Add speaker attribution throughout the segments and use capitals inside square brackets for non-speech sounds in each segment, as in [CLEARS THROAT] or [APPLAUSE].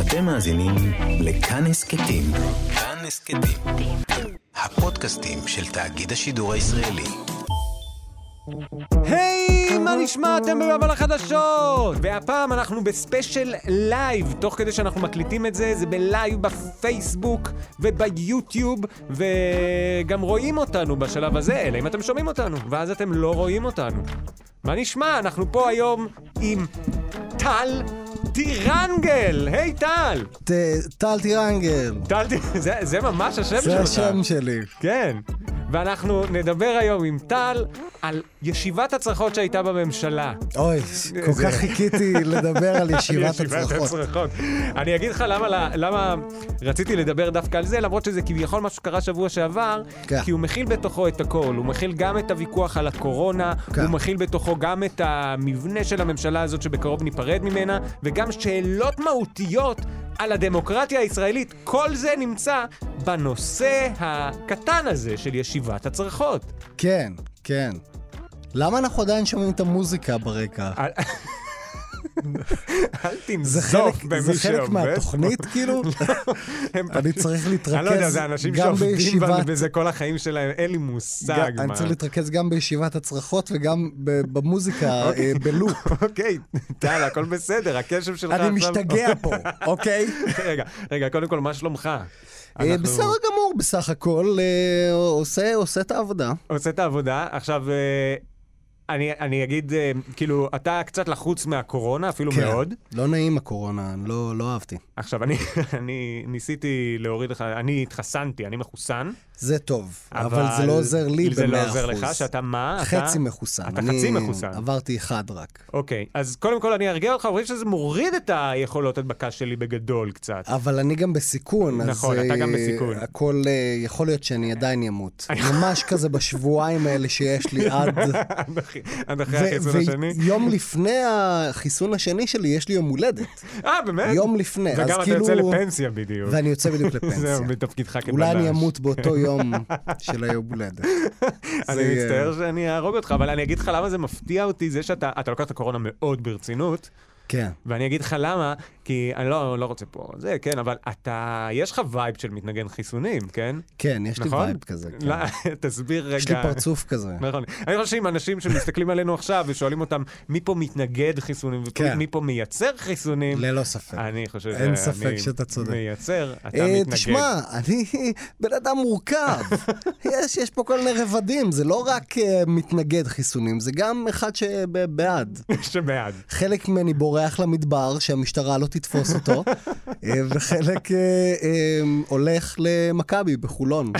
Speaker 1: אתם מאזינים לכאן הסכתים. כאן הסכתים. הפודקאסטים של תאגיד השידור הישראלי.
Speaker 2: היי, מה נשמע? אתם בבבל החדשות! והפעם אנחנו בספיישל לייב, תוך כדי שאנחנו מקליטים את זה, זה בלייב בפייסבוק וביוטיוב, וגם רואים אותנו בשלב הזה, אלא אם אתם שומעים אותנו, ואז אתם לא רואים אותנו. מה נשמע? אנחנו פה היום עם טל טירנגל! היי טל!
Speaker 3: ט- אה, טל טירנגל.
Speaker 2: טל, ט- [LAUGHS] זה, זה ממש השם שלך.
Speaker 3: זה השם שלי.
Speaker 2: כן. ואנחנו נדבר היום עם טל על ישיבת הצרחות שהייתה בממשלה.
Speaker 3: אוי, כל כך חיכיתי לדבר על ישיבת הצרחות.
Speaker 2: הצרחות. אני אגיד לך למה, ל- למה רציתי לדבר דווקא על זה, למרות שזה כביכול משהו שקרה שבוע שעבר,
Speaker 3: כן.
Speaker 2: כי הוא מכיל בתוכו את הכל. הוא מכיל גם את הוויכוח על הקורונה,
Speaker 3: כן.
Speaker 2: הוא מכיל בתוכו גם את המבנה של הממשלה הזאת שבקרוב ניפרד ממנה, וגם שאלות מהותיות על הדמוקרטיה הישראלית. כל זה נמצא בנושא הקטן הזה של ישיבת הצרחות.
Speaker 3: כן, כן. למה אנחנו עדיין שומעים את המוזיקה ברקע?
Speaker 2: אל אל
Speaker 3: זה
Speaker 2: תנזוף
Speaker 3: חלק,
Speaker 2: במי
Speaker 3: זה חלק
Speaker 2: שעובד
Speaker 3: מהתוכנית, כאילו?
Speaker 2: [LAUGHS] פה. הם-
Speaker 3: אני צריך להתרכז
Speaker 2: אני
Speaker 3: גם בישיבת...
Speaker 2: לא יודע, זה אנשים שעובדים ב- בזה כל החיים שלהם, אין לי מושג
Speaker 3: גם-
Speaker 2: מה.
Speaker 3: אני צריך להתרכז גם בישיבת הצרחות וגם ב- במוזיקה, אה, בלופ.
Speaker 2: [LAUGHS] אוקיי, טל, הכל בסדר, הקשב שלך
Speaker 3: אני
Speaker 2: עכשיו...
Speaker 3: משתגע
Speaker 2: [LAUGHS]
Speaker 3: פה, אוקיי?
Speaker 2: רגע, רגע, קודם כל, מה שלומך?
Speaker 3: אה,
Speaker 2: אנחנו-
Speaker 3: בסדר גמור, בסך הכל, אה, עושה- עושה את העבודה.
Speaker 2: עושה את העבודה. עכשיו, אה, אני אני אגיד, אה, כאילו, אתה קצת לחוץ מהקורונה, אפילו
Speaker 3: כן.
Speaker 2: מאוד.
Speaker 3: לא נעים הקורונה, אני לא לא אהבתי.
Speaker 2: עכשיו, אני- [LAUGHS] אני ניסיתי להוריד לך, אני התחסנתי, אני מחוסן.
Speaker 3: זה טוב, אבל, אבל זה לא עוזר לי ב-100%.
Speaker 2: זה לא עוזר לך, שאתה מה? אתה-
Speaker 3: חצי מחוסן.
Speaker 2: אתה
Speaker 3: אני
Speaker 2: חצי מחוסן.
Speaker 3: עברתי אחד רק.
Speaker 2: אוקיי, אז קודם כל אני ארגיע אותך, אומרים שזה מוריד את היכולות הדבקה שלי בגדול קצת.
Speaker 3: אבל אני גם בסיכון, אז...
Speaker 2: נכון, אתה
Speaker 3: אה,
Speaker 2: גם בסיכון.
Speaker 3: הכל, אה, יכול להיות שאני
Speaker 2: [LAUGHS]
Speaker 3: עדיין אמות. ממש כזה בשבועיים האלה שיש לי עד...
Speaker 2: עד אחי- עד אחרי החיסון השני.
Speaker 3: ויום לפני החיסון השני שלי יש לי יום
Speaker 2: [LAUGHS]
Speaker 3: הולדת. [LAUGHS]
Speaker 2: אה, באמת?
Speaker 3: יום לפני, אז
Speaker 2: וגם אתה
Speaker 3: כאילו-
Speaker 2: יוצא לפנסיה בדיוק.
Speaker 3: ואני יוצא בדיוק לפנסיה.
Speaker 2: [LAUGHS] זהו, בתפקידך כבלש.
Speaker 3: אולי אני
Speaker 2: [LAUGHS]
Speaker 3: אמות באותו יום של היום הולדת. זה אה,
Speaker 2: אני
Speaker 3: יהיה-
Speaker 2: מצטער שאני אהרוג אותך, אבל אני אגיד לך למה זה מפתיע אותי, זה שאתה אתה לוקח את הקורונה מאוד ברצינות,
Speaker 3: כן.
Speaker 2: ואני אגיד לך למה, כי אני לא לא רוצה פה, זה כן, אבל אתה, יש לך וייב של מתנגן חיסונים, כן?
Speaker 3: כן, יש לי
Speaker 2: נכון?
Speaker 3: וייב כזה. כן.
Speaker 2: לא, [LAUGHS] תסביר רגע.
Speaker 3: יש לי פרצוף כזה.
Speaker 2: נכון. אני חושב שאם אנשים שמסתכלים עלינו עכשיו ושואלים אותם מי פה מתנגד חיסונים
Speaker 3: כן.
Speaker 2: ומי פה מייצר חיסונים,
Speaker 3: ללא ספק.
Speaker 2: אני חושב
Speaker 3: אין
Speaker 2: שאני
Speaker 3: ספק שאתה צודק.
Speaker 2: מייצר, אה, אתה
Speaker 3: אה,
Speaker 2: מתנגד.
Speaker 3: תשמע, אני [LAUGHS] בן אדם מורכב. יש, יש פה כל מיני רבדים, זה לא רק אה, מתנגד חיסונים, זה גם אחד שבעד.
Speaker 2: [LAUGHS] [LAUGHS] שבעד.
Speaker 3: חלק ממני בורח למדבר, שהמשטרה לא תתפוס
Speaker 2: [LAUGHS]
Speaker 3: אותו, אה, וחלק אה, אה, הולך למכבי
Speaker 2: [LAUGHS]
Speaker 3: בחולון.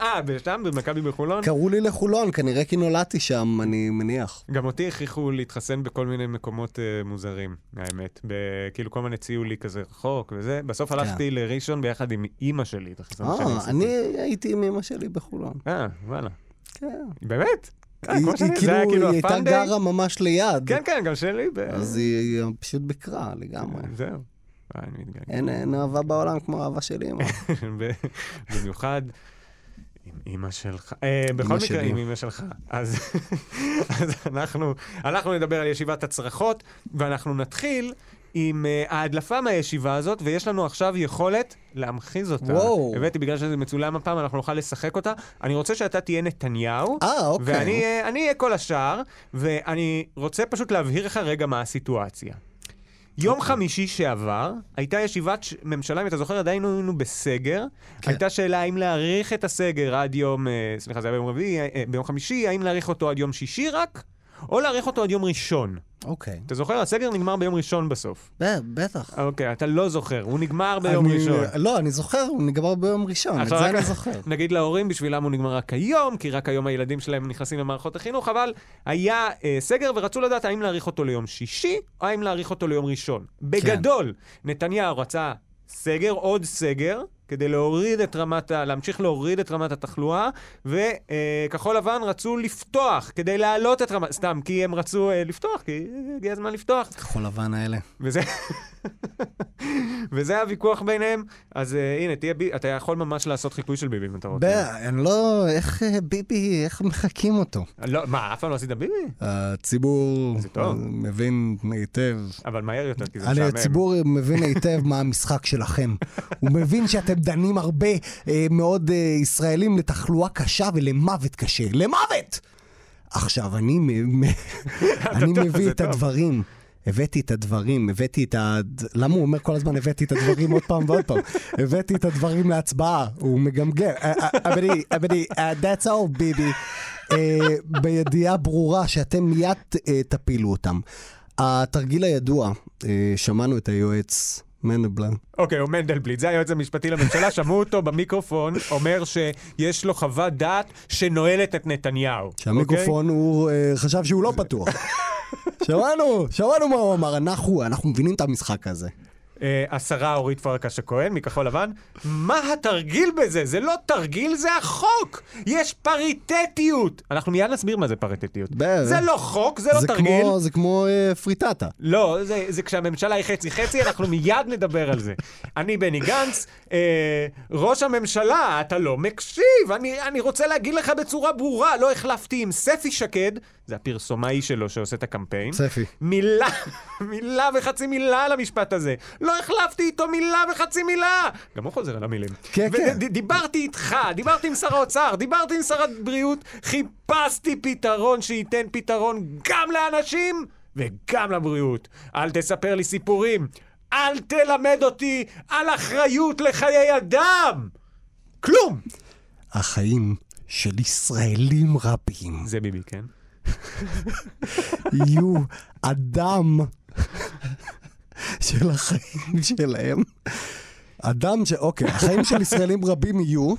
Speaker 2: אה, ושם במכבי בחולון?
Speaker 3: קראו לי לחולון, כנראה כי נולדתי שם, אני מניח.
Speaker 2: גם אותי הכריחו להתחסן בכל מיני מקומות אה, מוזרים, האמת. ב- כאילו כל מיני ציולי כזה רחוק וזה. בסוף הלכתי לראשון ביחד עם אימא שלי, את החיסון שאני
Speaker 3: כן. אה,
Speaker 2: עשיתי.
Speaker 3: אני הייתי עם אמא שלי בחולון.
Speaker 2: אה, וואלה.
Speaker 3: כן.
Speaker 2: באמת? אה,
Speaker 3: היא
Speaker 2: כמו
Speaker 3: היא
Speaker 2: שאני- זה
Speaker 3: כאילו,
Speaker 2: היה כאילו
Speaker 3: היא הייתה
Speaker 2: הפאנדיי?
Speaker 3: גרה ממש ליד.
Speaker 2: כן, כן, גם שלי. ב-
Speaker 3: אז היא היא פשוט ביקרה לגמרי.
Speaker 2: זהו. אה, אני מתגעגע.
Speaker 3: אין, אין אהבה בעולם כמו אהבה של
Speaker 2: [LAUGHS]
Speaker 3: אמא.
Speaker 2: ב- במיוחד עם אימא שלך. אה, בכל
Speaker 3: אמא
Speaker 2: מקרה,
Speaker 3: שלי.
Speaker 2: עם אימא שלך. אז אז אנחנו אנחנו נדבר על ישיבת הצרחות, ואנחנו נתחיל עם אה, ההדלפה מהישיבה הזאת, ויש לנו עכשיו יכולת להמחיז אותה.
Speaker 3: וואו.
Speaker 2: הבאתי, בגלל שזה מצולם הפעם, אנחנו נוכל לשחק אותה. אני רוצה שאתה תהיה נתניהו.
Speaker 3: אה, אוקיי.
Speaker 2: ואני אה, אני אהיה כל השאר, ואני רוצה פשוט להבהיר לך רגע מה הסיטואציה.
Speaker 3: אוקיי.
Speaker 2: יום חמישי שעבר, הייתה ישיבת ש- ממשלה, אם אתה זוכר, עדיין היינו בסגר.
Speaker 3: כן.
Speaker 2: הייתה שאלה האם להאריך את הסגר עד יום, אה, סליחה, זה היה ביום רביעי, אה, ביום חמישי, האם להאריך אותו עד יום שישי רק, או להאריך אותו עד יום ראשון.
Speaker 3: אוקיי.
Speaker 2: אתה זוכר? הסגר נגמר ביום ראשון בסוף.
Speaker 3: ב- בטח.
Speaker 2: אוקיי, אתה לא זוכר, הוא נגמר ביום
Speaker 3: אני-
Speaker 2: ראשון.
Speaker 3: לא, אני זוכר, הוא נגמר ביום ראשון, את
Speaker 2: עכשיו
Speaker 3: זה
Speaker 2: רק-
Speaker 3: אני
Speaker 2: [LAUGHS]
Speaker 3: זוכר.
Speaker 2: נגיד להורים, בשבילם הוא נגמר רק היום, כי רק היום הילדים שלהם נכנסים למערכות החינוך, אבל היה אה, סגר ורצו לדעת האם להאריך אותו ליום שישי, או האם להאריך אותו ליום ראשון. בגדול, נתניהו רצה סגר, עוד סגר. כדי להוריד את רמת, ה- להמשיך להוריד את רמת התחלואה, וכחול לבן רצו לפתוח כדי להעלות את רמת, סתם, כי הם רצו אה, לפתוח, כי אה, הגיע הזמן לפתוח.
Speaker 3: כחול לבן האלה.
Speaker 2: וזה... [LAUGHS] וזה היה הוויכוח ביניהם, אז אה, הנה, תהיה ביבי, אתה יכול ממש לעשות חיקוי של ביבי אם אתה
Speaker 3: ב-
Speaker 2: רוצה.
Speaker 3: אני לא, איך אה, ביבי, איך מחקים
Speaker 2: [LAUGHS]
Speaker 3: אותו?
Speaker 2: לא, מה, אף פעם לא עשית ביבי?
Speaker 3: הציבור
Speaker 2: זה טוב.
Speaker 3: מבין היטב.
Speaker 2: אבל מהר יותר, כי זה
Speaker 3: אני,
Speaker 2: משעמם.
Speaker 3: הציבור מבין היטב מה המשחק
Speaker 2: [LAUGHS]
Speaker 3: שלכם. הוא מבין שאתם דנים הרבה אה, מאוד אה, ישראלים לתחלואה קשה ולמוות קשה. למוות! עכשיו, אני, מ- מ- אני
Speaker 2: טוב,
Speaker 3: מביא
Speaker 2: זה
Speaker 3: את
Speaker 2: טוב.
Speaker 3: הדברים. הבאתי את הדברים, הבאתי את ה... למה הוא אומר כל הזמן הבאתי את הדברים עוד פעם ועוד פעם? הבאתי את הדברים להצבעה, הוא מגמגם. "אה, אה, אבני, אבני, אה, that's all, ביבי. אה, בידיעה ברורה שאתם מיד אה, תפילו אותם. התרגיל הידוע, אה, שמענו את היועץ מנדלבלן.
Speaker 2: אוקיי, הוא מנדלבליט, זה היועץ המשפטי לממשלה, שמעו אותו במיקרופון אומר שיש לו חוות דעת שנועלת את נתניהו. אוקיי?
Speaker 3: שהמיקרופון הוא אה, חשב שהוא לא פתוח. שמענו, שמענו מה הוא אמר, אנחנו, אנחנו מבינים את המשחק הזה.
Speaker 2: אה, השרה אורית פרקש הכהן מכחול לבן, מה התרגיל בזה? זה לא תרגיל, זה החוק! יש פריטטיות! אנחנו מיד נסביר מה זה פריטטיות.
Speaker 3: ב-
Speaker 2: זה לא חוק, זה לא
Speaker 3: זה
Speaker 2: תרגיל.
Speaker 3: כמו, זה כמו אה, פריטטה.
Speaker 2: לא, זה, זה כשהממשלה היא חצי-חצי, אנחנו מיד נדבר על זה. אני בני גנץ, אה, ראש הממשלה, אתה לא מקשיב, אני, אני רוצה להגיד לך בצורה ברורה, לא החלפתי עם ספי שקד, זה הפרסומאי שלו שעושה את הקמפיין.
Speaker 3: צפי.
Speaker 2: מילה, מילה וחצי מילה על המשפט הזה. לא החלפתי איתו מילה וחצי מילה! גם הוא חוזר על המילים.
Speaker 3: כן, כן.
Speaker 2: וד- דיברתי איתך, דיברתי עם שר האוצר, דיברתי עם שר הבריאות, חיפשתי פתרון שייתן פתרון גם לאנשים וגם לבריאות. אל תספר לי סיפורים. אל תלמד אותי על אחריות לחיי אדם! כלום!
Speaker 3: החיים של ישראלים רבים
Speaker 2: זה ביבי, כן?
Speaker 3: יהיו אדם של החיים שלהם. אדם ש... אוקיי, החיים של ישראלים רבים יהיו.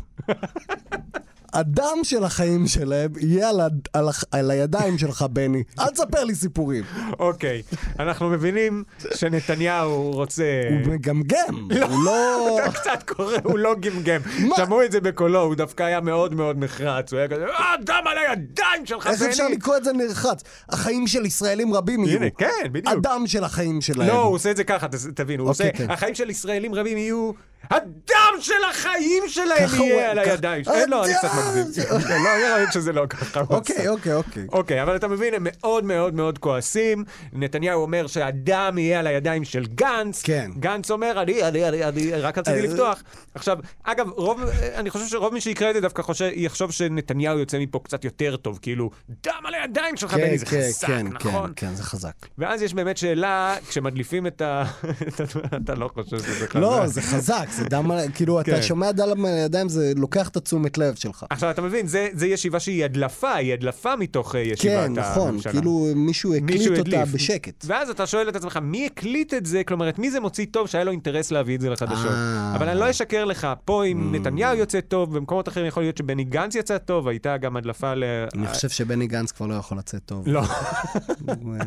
Speaker 3: הדם של החיים שלהם יהיה על, הד... על, הח... על הידיים שלך, בני. אל תספר לי סיפורים.
Speaker 2: אוקיי, אנחנו מבינים שנתניהו רוצה...
Speaker 3: הוא מגמגם. הוא לא...
Speaker 2: אתה [LAUGHS] קצת קורא, הוא לא גמגם.
Speaker 3: מה?
Speaker 2: שמעו את זה בקולו, הוא דווקא היה מאוד מאוד נחרץ. הוא היה כזה, "אה, דם על הידיים שלך,
Speaker 3: איך אפשר
Speaker 2: בני!"
Speaker 3: לקרוא את זה נרחץ? החיים של ישראלים רבים יהיו.
Speaker 2: הנה, כן, בדיוק.
Speaker 3: הדם של החיים שלהם.
Speaker 2: לא, הוא עושה את זה ככה, ת- תבינו. הוא
Speaker 3: אוקיי,
Speaker 2: עושה,
Speaker 3: כן.
Speaker 2: החיים של ישראלים רבים יהיו, הדם של החיים שלהם
Speaker 3: ככה הוא-
Speaker 2: יהיה על
Speaker 3: ככה-
Speaker 2: הידיים. שלהם." לא, אני קצת
Speaker 3: הדם
Speaker 2: מגזים.
Speaker 3: של-
Speaker 2: לא, אני רואה שזה לא ככה. הוא
Speaker 3: אוקיי,
Speaker 2: עשה.
Speaker 3: אוקיי, אוקיי.
Speaker 2: אוקיי, אבל אתה מבין, הם מאוד מאוד מאוד כועסים. נתניהו אומר שהדם יהיה על הידיים של גנץ.
Speaker 3: כן.
Speaker 2: גנץ אומר, אני, אני, אני, אני רק רציתי
Speaker 3: אה,
Speaker 2: לפתוח. עכשיו, אגב, רוב, אני חושב שרוב מי שיקרא את זה דווקא חושב, יחשוב שנתניהו יוצא מפה קצת יותר טוב, כאילו, דם על הידיים שלך, בני, כן, זה חזק, נכון?
Speaker 3: כן, זה חזק.
Speaker 2: ואז יש באמת שאלה, כשמדליפים את ה... [LAUGHS] את ה- אתה לא חושב שזה חזק.
Speaker 3: לא, זה חזק, זה דם על... כאילו,
Speaker 2: כן.
Speaker 3: אתה שומע דם על הידיים, זה לוקח את התשומת לב שלך.
Speaker 2: עכשיו, אתה מבין, זה, זה ישיבה שהיא הדלפה, היא הדלפה מתוך אה, ישיבת
Speaker 3: כן,
Speaker 2: הממשלה.
Speaker 3: נכון, כאילו מישהו
Speaker 2: מישהו
Speaker 3: הקליט אותה
Speaker 2: הדליף.
Speaker 3: בשקט.
Speaker 2: ואז אתה שואל את עצמך, מי הקליט את זה? כלומר, את מי זה מוציא טוב שהיה לו אינטרס להביא את זה לחדשות?
Speaker 3: אה. Mm.
Speaker 2: אבל אני לא אשקר לך, פה אם נתניהו יוצא טוב, במקומות אחרים יכול להיות שבני גנץ יצא טוב, הייתה גם הדלפה ל...
Speaker 3: אני חושב שבני גנץ כבר לא יכול לצאת טוב.
Speaker 2: לא, [LAUGHS]
Speaker 3: הוא, אה,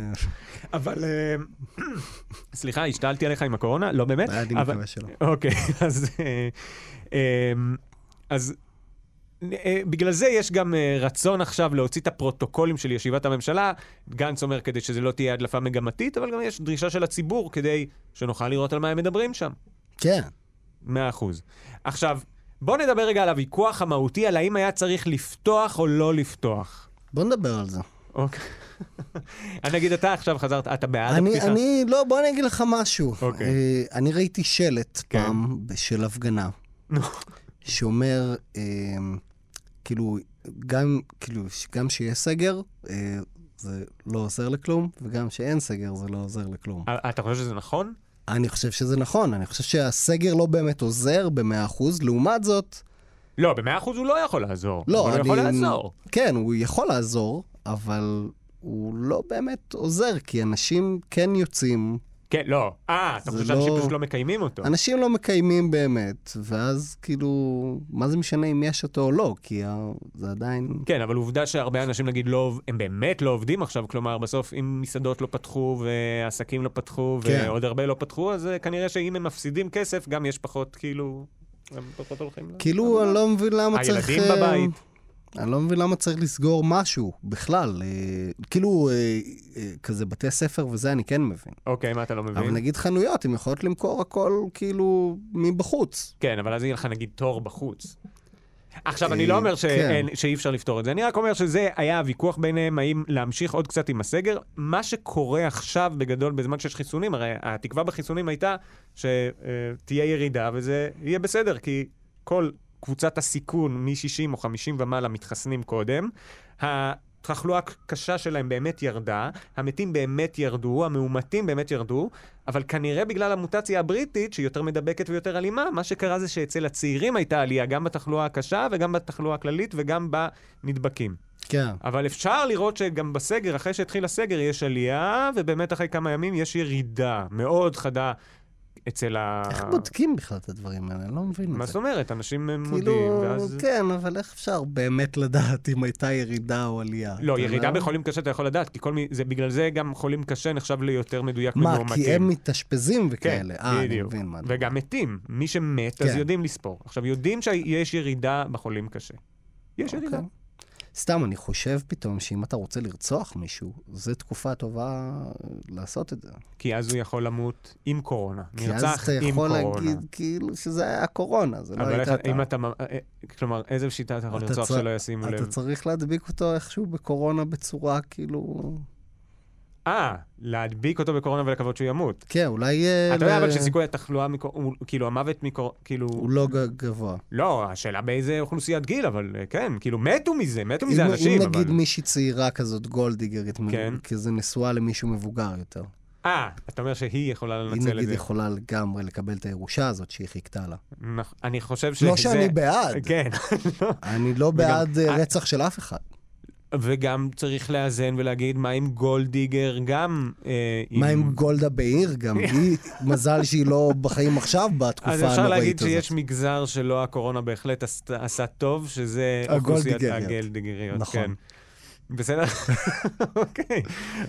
Speaker 2: אבל... אה, [CLEARS THROAT] סליחה, השתעלתי עליך עם הקורונה? לא באמת? [LAUGHS]
Speaker 3: אה, אני
Speaker 2: אבל-
Speaker 3: מקווה שלא.
Speaker 2: אוקיי, [LAUGHS] אז... אה, אה, אז... אה, בגלל זה יש גם אה, רצון עכשיו להוציא את הפרוטוקולים של ישיבת הממשלה. גנץ אומר כדי שזה לא תהיה הדלפה מגמתית, אבל גם יש דרישה של הציבור כדי שנוכל לראות על מה הם מדברים שם.
Speaker 3: כן.
Speaker 2: מאה אחוז. עכשיו, בוא נדבר רגע על הוויכוח המהותי, על האם היה צריך לפתוח או לא לפתוח.
Speaker 3: בוא נדבר על זה.
Speaker 2: אוקיי. [LAUGHS] אני אגיד, אתה עכשיו חזרת, אתה בעד
Speaker 3: אני,
Speaker 2: הפתיחה?
Speaker 3: אני, לא, בוא אני אגיד לך משהו.
Speaker 2: אוקיי.
Speaker 3: אה, אני ראיתי שלט
Speaker 2: כן.
Speaker 3: פעם של הפגנה,
Speaker 2: נו.
Speaker 3: שאומר, אה, כאילו, גם, כאילו, ש- גם שיש סגר, אה, זה לא עוזר לכלום, וגם שאין סגר, זה לא עוזר לכלום.
Speaker 2: אה, אתה חושב שזה נכון?
Speaker 3: אני חושב שזה נכון, אני חושב שהסגר לא באמת עוזר ב-100%, לעומת זאת,
Speaker 2: לא, במאה אחוז הוא לא יכול לעזור.
Speaker 3: לא,
Speaker 2: אבל
Speaker 3: אני...
Speaker 2: הוא יכול לעזור.
Speaker 3: כן, הוא יכול לעזור, אבל הוא לא באמת עוזר, כי אנשים כן יוצאים
Speaker 2: כן, לא. אה, אתה
Speaker 3: זה
Speaker 2: חושב שאנשים
Speaker 3: לא-
Speaker 2: פשוט לא מקיימים אותו.
Speaker 3: אנשים לא מקיימים באמת, ואז כאילו, מה זה משנה אם יש אותו או לא, כי ה- זה עדיין...
Speaker 2: כן, אבל עובדה שהרבה אנשים, נגיד, לא, עוב- הם באמת לא עובדים עכשיו, כלומר, בסוף אם מסעדות לא פתחו, ועסקים לא פתחו,
Speaker 3: כן.
Speaker 2: ועוד הרבה לא פתחו, אז אה, כנראה שאם הם מפסידים כסף, גם יש פחות, כאילו, הם פחות הולכים. ל-
Speaker 3: כן. כאילו, אני לא מבין למה צריך...
Speaker 2: הילדים
Speaker 3: אה,
Speaker 2: בבית.
Speaker 3: אני לא מבין למה צריך לסגור משהו בכלל. אה, כאילו, אה, אה, כזה בתי ספר וזה אני כן מבין.
Speaker 2: אוקיי, מה אתה לא
Speaker 3: אבל
Speaker 2: מבין?
Speaker 3: נגיד חנויות, הן יכולות למכור הכל כאילו מבחוץ.
Speaker 2: כן, אבל אז יהיה לך נגיד תור בחוץ. עכשיו, אני לא אומר שאין- שאי אפשר לפתור את זה, אני רק אומר שזה היה הוויכוח ביניהם, האם להמשיך עוד קצת עם הסגר. מה שקורה עכשיו בגדול, בזמן שיש חיסונים, הרי התקווה בחיסונים הייתה שתהיה ירידה וזה יהיה בסדר, כי כל קבוצת הסיכון מ-60 או 50 ומעלה מתחסנים קודם. התחלואה הקשה שלהם באמת ירדה, המתים באמת ירדו, המאומתים באמת ירדו, אבל כנראה בגלל המוטציה הבריטית, שהיא יותר מדבקת ויותר אלימה, מה שקרה זה שאצל הצעירים הייתה עלייה גם בתחלואה הקשה וגם בתחלואה הכללית וגם בנדבקים.
Speaker 3: כן.
Speaker 2: אבל אפשר לראות שגם בסגר, אחרי שהתחיל הסגר, יש עלייה, ובאמת אחרי כמה ימים יש ירידה מאוד חדה אצל ה...
Speaker 3: איך בודקים בכלל את הדברים האלה? אני לא מבין
Speaker 2: מה
Speaker 3: את
Speaker 2: זאת
Speaker 3: זה.
Speaker 2: אומרת? אנשים הם מודיעים,
Speaker 3: כאילו,
Speaker 2: ואז...
Speaker 3: כן, אבל איך אפשר באמת לדעת אם הייתה ירידה או עלייה?
Speaker 2: לא,
Speaker 3: אתה
Speaker 2: ירידה
Speaker 3: יודע?
Speaker 2: בחולים קשה אתה יכול לדעת, כי כל מי... זה בגלל זה גם חולים קשה נחשב ליותר מדויק
Speaker 3: מה,
Speaker 2: ממאומתים.
Speaker 3: כי הם מתאשפזים וכאלה. אה, אני
Speaker 2: כן, בדיוק.
Speaker 3: מבין מה. אתה
Speaker 2: וגם מתים. מי שמת, אז
Speaker 3: כן.
Speaker 2: יודעים לספור. עכשיו, יודעים שיש ירידה בחולים קשה. יש
Speaker 3: אוקיי.
Speaker 2: ירידה.
Speaker 3: סתם, אני חושב פתאום שאם אתה רוצה לרצוח מישהו, זו תקופה טובה אה, לעשות את זה.
Speaker 2: כי אז הוא יכול למות עם קורונה.
Speaker 3: כי אז
Speaker 2: נרצח
Speaker 3: אתה
Speaker 2: עם
Speaker 3: יכול
Speaker 2: קורונה.
Speaker 3: להגיד כאילו שזה היה הקורונה, זה לא
Speaker 2: אבל
Speaker 3: הייתה...
Speaker 2: איך- אם אתה... מ- אה, אה, כלומר, איזה שיטה אתה יכול
Speaker 3: אתה
Speaker 2: לרצוח
Speaker 3: צר-
Speaker 2: שלא ישימו
Speaker 3: אתה
Speaker 2: לב?
Speaker 3: צריך להדביק אותו איכשהו בקורונה בצורה כאילו...
Speaker 2: אה, להדביק אותו בקורונה ולקוות שהוא ימות.
Speaker 3: כן, אולי... אה,
Speaker 2: אתה יודע
Speaker 3: ל-
Speaker 2: אבל שסיכוי התחלואה, מקור- הוא- כאילו המוות מקור... כאילו...
Speaker 3: הוא לא ג- גבוה.
Speaker 2: לא, השאלה באיזה אוכלוסיית גיל, אבל אה, כן, כאילו מתו מזה, מתו
Speaker 3: אם-
Speaker 2: מזה אנשים,
Speaker 3: אם נגיד
Speaker 2: אבל...
Speaker 3: מישהי צעירה כזאת, גולדיגרית, מ-
Speaker 2: כן.
Speaker 3: כזה נשואה למישהו מבוגר יותר.
Speaker 2: אה, אתה אומר שהיא יכולה
Speaker 3: היא
Speaker 2: לנצל את
Speaker 3: נגיד
Speaker 2: זה.
Speaker 3: יכולה לגמרי לקבל את הירושה הזאת שהיא חיכתה לה.
Speaker 2: נכ- נכון, אני חושב שזה...
Speaker 3: לא שאני בעד,
Speaker 2: כן,
Speaker 3: אני לא בעד אה,
Speaker 2: אה,
Speaker 3: רצח של אף אחד.
Speaker 2: וגם צריך לאזן ולהגיד מה עם גולדיגר גם. אה,
Speaker 3: מה עם גולדה בעיר
Speaker 2: [LAUGHS]
Speaker 3: גם? היא, מזל שהיא לא בחיים עכשיו בתקופה
Speaker 2: אז
Speaker 3: הנוראית הזאת.
Speaker 2: אפשר להגיד שיש מגזר שלא הקורונה בהחלט עשת- עשה טוב, שזה אוכלוסיית
Speaker 3: הגולדיגריות.
Speaker 2: הגלדיגריות.
Speaker 3: אה, נכון.
Speaker 2: כן. בסדר? [LAUGHS] אוקיי.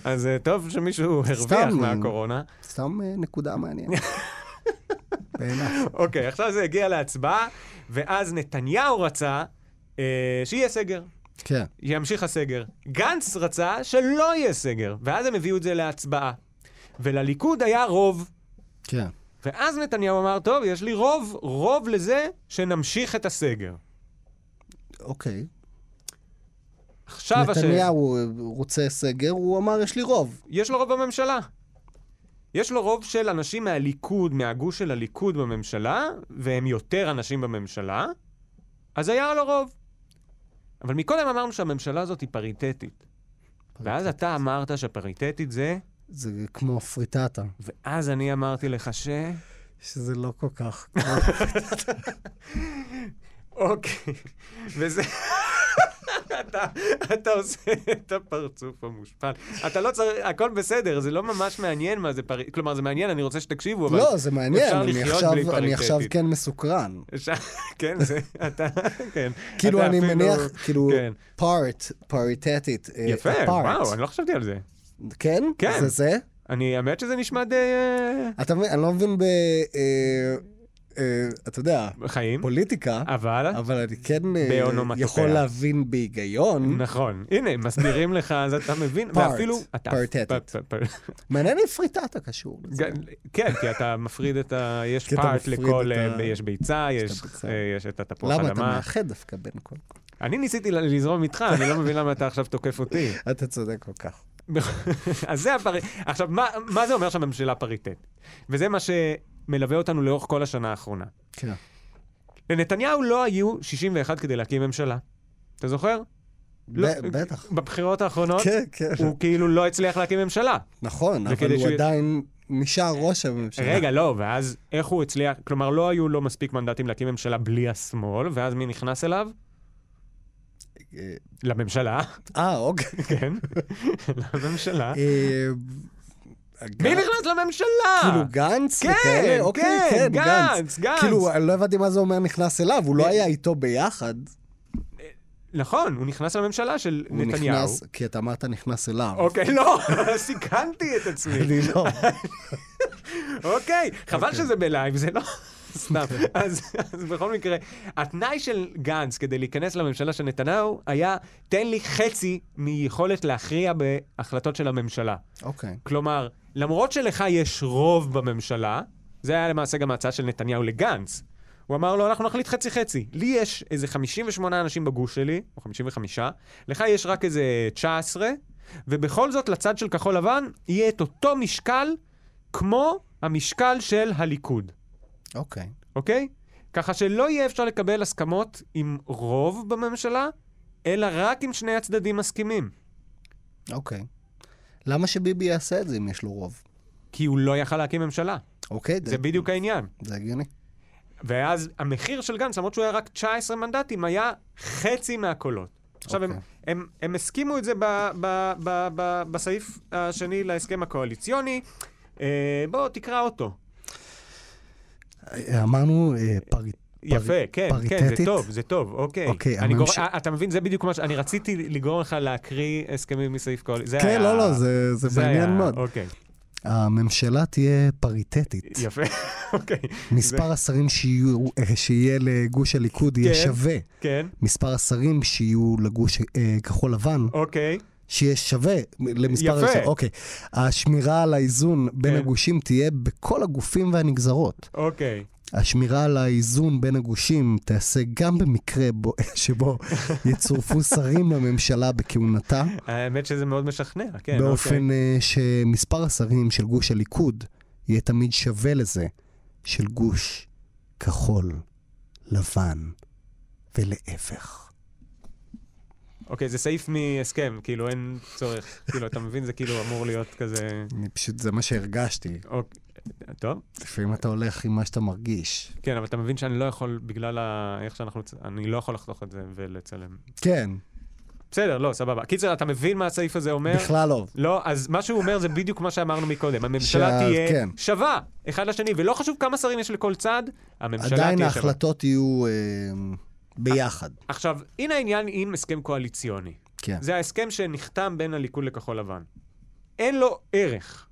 Speaker 2: אז אה, טוב שמישהו הרוויח
Speaker 3: סתם, לא.
Speaker 2: מהקורונה.
Speaker 3: סתם אה,
Speaker 2: [LAUGHS]
Speaker 3: נקודה מעניינת. בעיניי.
Speaker 2: אוקיי, עכשיו זה הגיע להצבעה, ואז נתניהו רצה אה, שיהיה סגר.
Speaker 3: כן.
Speaker 2: ימשיך הסגר. גנץ רצה שלא יהיה סגר, ואז הם הביאו את זה להצבעה. ולליכוד היה רוב,
Speaker 3: כן.
Speaker 2: ואז נתניהו אמר, טוב, יש לי רוב, רוב לזה שנמשיך את הסגר.
Speaker 3: אוקיי.
Speaker 2: עכשיו השאלה...
Speaker 3: נתניהו אה, רוצה סגר, הוא אמר, יש לי רוב.
Speaker 2: יש לו רוב בממשלה. יש לו רוב של אנשים מהליכוד, מהגוש של הליכוד בממשלה, והם יותר אנשים בממשלה, אז היה לו רוב. אבל מקודם אמרנו שהממשלה הזאת היא פריטטית. ואז אתה אמרת שפריטטית זה,
Speaker 3: זה כמו פריטטה,
Speaker 2: ואז אני אמרתי לך ש...
Speaker 3: שזה לא כל
Speaker 2: [LAUGHS]
Speaker 3: כך.
Speaker 2: אוקיי, וזה... אתה, אתה עושה את הפרצוף המושפל. אתה לא צריך, הכל בסדר, זה לא ממש מעניין מה זה פריט, כלומר זה מעניין, אני רוצה שתקשיבו, אבל...
Speaker 3: לא, זה מעניין,
Speaker 2: אפשר
Speaker 3: אני
Speaker 2: לחיות
Speaker 3: עכשיו-
Speaker 2: בלי
Speaker 3: אני
Speaker 2: פריטטית.
Speaker 3: עכשיו כן מסוקרן.
Speaker 2: אפשר- כן, זה, אתה, כן.
Speaker 3: כאילו,
Speaker 2: אתה
Speaker 3: אני
Speaker 2: אפילו-
Speaker 3: מניח, כאילו,
Speaker 2: כן.
Speaker 3: פארט, פריטטית. אה,
Speaker 2: יפה,
Speaker 3: apart.
Speaker 2: וואו, אני לא חשבתי על זה.
Speaker 3: כן?
Speaker 2: כן.
Speaker 3: זה זה?
Speaker 2: אני, האמת שזה נשמע די... אה,
Speaker 3: אתה מבין, אני לא מבין ב... אה, אה, אתה יודע,
Speaker 2: חיים,
Speaker 3: פוליטיקה,
Speaker 2: אבל...
Speaker 3: אבל אני כן אה,
Speaker 2: באונומטופיה.
Speaker 3: יכול להבין בהיגיון.
Speaker 2: נכון, הנה, מסבירים לך, אז אתה מבין,
Speaker 3: Part,
Speaker 2: ואפילו... אתה-
Speaker 3: פריטטית.
Speaker 2: פ- פ- פ-
Speaker 3: מעניין אם פריטטה קשור לזה.
Speaker 2: גם- כן, כי אתה מפריד את
Speaker 3: [LAUGHS]
Speaker 2: ה... יש
Speaker 3: כי אתה
Speaker 2: פארט
Speaker 3: מפריד
Speaker 2: לכל...
Speaker 3: את ה-
Speaker 2: אה, יש ביצה,
Speaker 3: את
Speaker 2: יש
Speaker 3: הביצה.
Speaker 2: אה, יש את התפוח
Speaker 3: למה אתה
Speaker 2: אדמה.
Speaker 3: מאחד דווקא בין כל...
Speaker 2: אני ניסיתי ל- לזרום איתך, אני לא מבין למה אתה עכשיו תוקף
Speaker 3: [LAUGHS]
Speaker 2: אותי.
Speaker 3: אתה צודק כל כך.
Speaker 2: אז זה הפריט... עכשיו, מה- מה זה אומר שהממשלה פריטטית? וזה מה שמלווה אותנו לאורך כל השנה האחרונה.
Speaker 3: כן.
Speaker 2: לנתניהו לא היו 61 כדי להקים ממשלה. אתה זוכר?
Speaker 3: ב-
Speaker 2: לא,
Speaker 3: בטח.
Speaker 2: בבחירות האחרונות
Speaker 3: כן, כן.
Speaker 2: הוא כאילו לא הצליח להקים ממשלה.
Speaker 3: נכון, אבל
Speaker 2: וכדי
Speaker 3: הוא
Speaker 2: שהוא-
Speaker 3: עדיין נשאר ראש הממשלה.
Speaker 2: רגע, לא, ואז איך הוא הצליח, כלומר, לא היו לו מספיק מנדטים להקים ממשלה בלי השמאל, ואז מי נכנס אליו?
Speaker 3: אה,
Speaker 2: לממשלה, [LAUGHS]
Speaker 3: אה, אוקיי.
Speaker 2: כן, לממשלה.
Speaker 3: אה,
Speaker 2: מי נכנס לממשלה?
Speaker 3: כאילו גנץ?
Speaker 2: כן,
Speaker 3: וכאלה? אוקיי,
Speaker 2: כן,
Speaker 3: כן,
Speaker 2: גנץ, גנץ.
Speaker 3: כאילו, אני לא הבנתי מה זה אומר נכנס אליו, הוא לא היה איתו ביחד.
Speaker 2: נכון, הוא נכנס לממשלה של
Speaker 3: הוא
Speaker 2: נתניהו.
Speaker 3: נכנס, כי אתה אמרת נכנס אליו.
Speaker 2: אוקיי, לא, [LAUGHS] סיכנתי את עצמי.
Speaker 3: אני לא.
Speaker 2: אוקיי, חבל שזה בלייב, זה לא... סתם. אז אז בכל מקרה, התנאי של גנץ כדי להיכנס לממשלה של נתניהו היה, תן לי חצי מיכולת להכריע בהחלטות של הממשלה.
Speaker 3: אוקיי.
Speaker 2: כלומר, למרות שלך יש רוב בממשלה, זה היה למעשה גם ההצעה של נתניהו לגנץ. הוא אמר לו, אנחנו נחליט חצי-חצי. לי יש איזה 58 אנשים בגוש שלי, או 55, לך יש רק איזה 19, ובכל זאת לצד של כחול לבן יהיה את אותו משקל כמו המשקל של הליכוד,
Speaker 3: אוקיי.
Speaker 2: אוקיי? ככה שלא יהיה אפשר לקבל הסכמות עם רוב בממשלה, אלא רק אם שני הצדדים מסכימים.
Speaker 3: אוקיי. למה שביבי יעשה את זה אם יש לו רוב?
Speaker 2: כי הוא לא יכל להקים ממשלה.
Speaker 3: אוקיי, זה-
Speaker 2: זה בדיוק העניין.
Speaker 3: זה הגיוני.
Speaker 2: ואז המחיר של גנץ, למרות שהוא היה רק 19 מנדטים, היה חצי מהקולות. עכשיו, הם,
Speaker 3: אוקיי.
Speaker 2: הם, הם הסכימו את זה ב, ב, ב, ב, בסעיף השני להסכם הקואליציוני. אה, בוא, תקרא אותו.
Speaker 3: אמרנו אה, פריט...
Speaker 2: יפה, כן, כן, זה
Speaker 3: פריטטית?
Speaker 2: טוב, זה טוב, אוקיי.
Speaker 3: אוקיי,
Speaker 2: אני גור...
Speaker 3: הממש-
Speaker 2: א- אתה מבין, זה בדיוק מה ש... אני רציתי לגרום לך להקריא הסכמים מסעיף קואליציוני.
Speaker 3: כן, לא, לא, זה- זה מעניין מאוד.
Speaker 2: אוקיי,
Speaker 3: הממשלה תהיה פריטטית.
Speaker 2: יפה, [LAUGHS] אוקיי.
Speaker 3: מספר השרים שיהיו, אה, שיהיה לגוש הליכוד יהיה
Speaker 2: כן.
Speaker 3: שווה.
Speaker 2: כן,
Speaker 3: מספר השרים שיהיו לגוש אה, כחול לבן
Speaker 2: אוקיי.
Speaker 3: שיהיה שווה למספר...
Speaker 2: יפה.
Speaker 3: השרים. אוקיי. השמירה על האיזון בין
Speaker 2: כן.
Speaker 3: הגושים תהיה בכל הגופים והנגזרות.
Speaker 2: אוקיי,
Speaker 3: השמירה על האיזון בין הגושים תיעשה גם במקרה בו, [LAUGHS] שבו [LAUGHS] יצורפו שרים לממשלה בכהונתה,
Speaker 2: האמת שזה מאוד משכנע, כן, אוקיי.
Speaker 3: באופן אה, שמספר השרים של גוש הליכוד יהיה תמיד שווה לזה של גוש כחול, לבן, ולהפך.
Speaker 2: אוקיי, זה סעיף מהסכם, כאילו אין צורך, כאילו, אתה מבין, זה כאילו אמור להיות כזה...
Speaker 3: אני פשוט, זה מה שהרגשתי.
Speaker 2: אוקיי, טוב,
Speaker 3: לפעמים אתה הולך עם מה שאתה מרגיש.
Speaker 2: כן, אבל אתה מבין שאני לא יכול, בגלל ה... איך שאנחנו... צ- אני לא יכול לחתוך את זה ולצלם.
Speaker 3: כן,
Speaker 2: בסדר, לא, סבבה. קיצר, אתה מבין מה הסעיף הזה אומר?
Speaker 3: בכלל לא.
Speaker 2: לא, אז מה שהוא אומר זה בדיוק מה שאמרנו מקודם. הממשלה
Speaker 3: שה-
Speaker 2: תהיה
Speaker 3: כן.
Speaker 2: שווה אחד לשני, ולא חשוב כמה שרים יש לכל צד, הממשלה
Speaker 3: עדיין
Speaker 2: תהיה שווה.
Speaker 3: ההחלטות יהיו אה, ביחד.
Speaker 2: עכשיו, הנה העניין עם הסכם קואליציוני.
Speaker 3: כן.
Speaker 2: זה ההסכם שנחתם בין הליכוד לכחול לבן. אין לו ערך,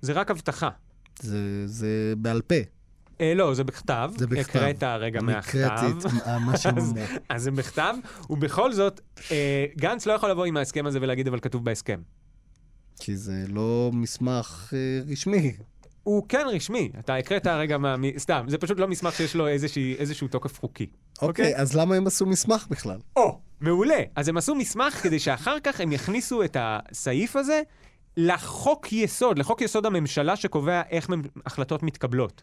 Speaker 2: זה רק הבטחה.
Speaker 3: זה- זה בעל פה.
Speaker 2: אה, לא, זה בכתב.
Speaker 3: זה בכתב.
Speaker 2: הקראת הרגע
Speaker 3: אני
Speaker 2: מהכתב.
Speaker 3: הקראתי את מה שהם
Speaker 2: אז,
Speaker 3: אמרו.
Speaker 2: [LAUGHS] אז זה בכתב, ובכל זאת, אה, גנץ לא יכול לבוא עם ההסכם הזה ולהגיד, אבל כתוב בהסכם.
Speaker 3: כי זה לא מסמך אה, רשמי.
Speaker 2: הוא כן רשמי, אתה הקראת הרגע מה... מ- סתם, זה פשוט לא מסמך שיש לו איזושהי, איזשהו תוקף חוקי.
Speaker 3: אוקיי, אז למה הם עשו מסמך בכלל?
Speaker 2: או, מעולה. אז הם עשו מסמך כדי שאחר כך הם יכניסו את הסעיף הזה לחוק יסוד, לחוק יסוד הממשלה שקובע איך מ- החלטות מתקבלות.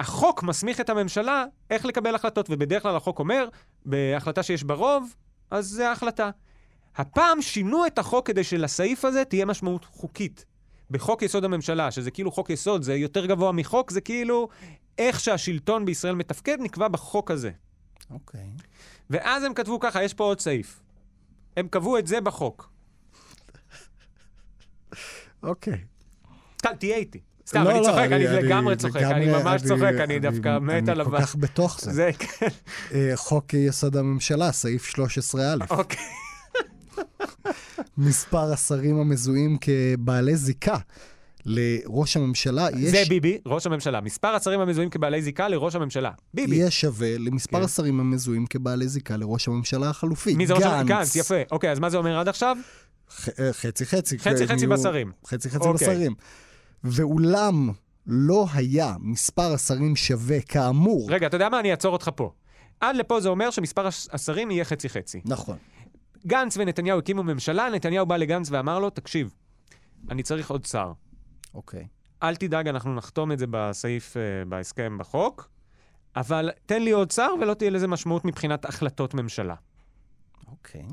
Speaker 2: החוק מסמיך את הממשלה איך לקבל החלטות, ובדרך כלל החוק אומר, בהחלטה שיש בה רוב, אז זה ההחלטה. הפעם שינו את החוק כדי שלסעיף הזה תהיה משמעות חוקית. בחוק יסוד הממשלה, שזה כאילו חוק יסוד, זה יותר גבוה מחוק, זה כאילו איך שהשלטון בישראל מתפקד נקבע בחוק הזה.
Speaker 3: אוקיי.
Speaker 2: ואז הם כתבו ככה, יש פה עוד סעיף. הם קבעו את זה בחוק.
Speaker 3: אוקיי.
Speaker 2: טל, תהיה איתי. סתם, אני צוחק, לא, אני לגמרי צוחק, אני ממש צוחק, אני דווקא מת עליו.
Speaker 3: אני כל כך בתוך זה.
Speaker 2: זה, כן,
Speaker 3: אה, חוק יסוד הממשלה, סעיף 13א.
Speaker 2: אוקיי.
Speaker 3: מספר השרים המזוהים כבעלי זיקה לראש הממשלה
Speaker 2: זה
Speaker 3: יש-
Speaker 2: ביבי, ראש הממשלה. מספר השרים המזוהים כבעלי זיקה לראש הממשלה. ביבי.
Speaker 3: יהיה שווה למספר
Speaker 2: כן.
Speaker 3: השרים המזוהים כבעלי זיקה לראש הממשלה החלופי.
Speaker 2: מי זה ראש הממשלה? גנץ, יפה. אוקיי, אז מה זה אומר עד עכשיו?
Speaker 3: ח- אה, חצי חצי.
Speaker 2: חצי
Speaker 3: הם
Speaker 2: חצי
Speaker 3: יהיו-
Speaker 2: בשרים.
Speaker 3: חצי חצי
Speaker 2: אוקיי.
Speaker 3: בשרים. ואולם לא היה מספר השרים שווה כאמור.
Speaker 2: רגע, אתה יודע מה? אני אעצור אותך פה. עד לפה זה אומר שמספר הש- השרים יהיה חצי-חצי.
Speaker 3: נכון.
Speaker 2: גנץ ונתניהו הקימו ממשלה, נתניהו בא לגנץ ואמר לו, תקשיב, אני צריך עוד שר.
Speaker 3: אוקיי.
Speaker 2: אל תדאג, אנחנו נחתום את זה בסעיף, אה, בהסכם בחוק, אבל תן לי עוד שר ולא תהיה לזה משמעות מבחינת החלטות ממשלה.
Speaker 3: אוקיי.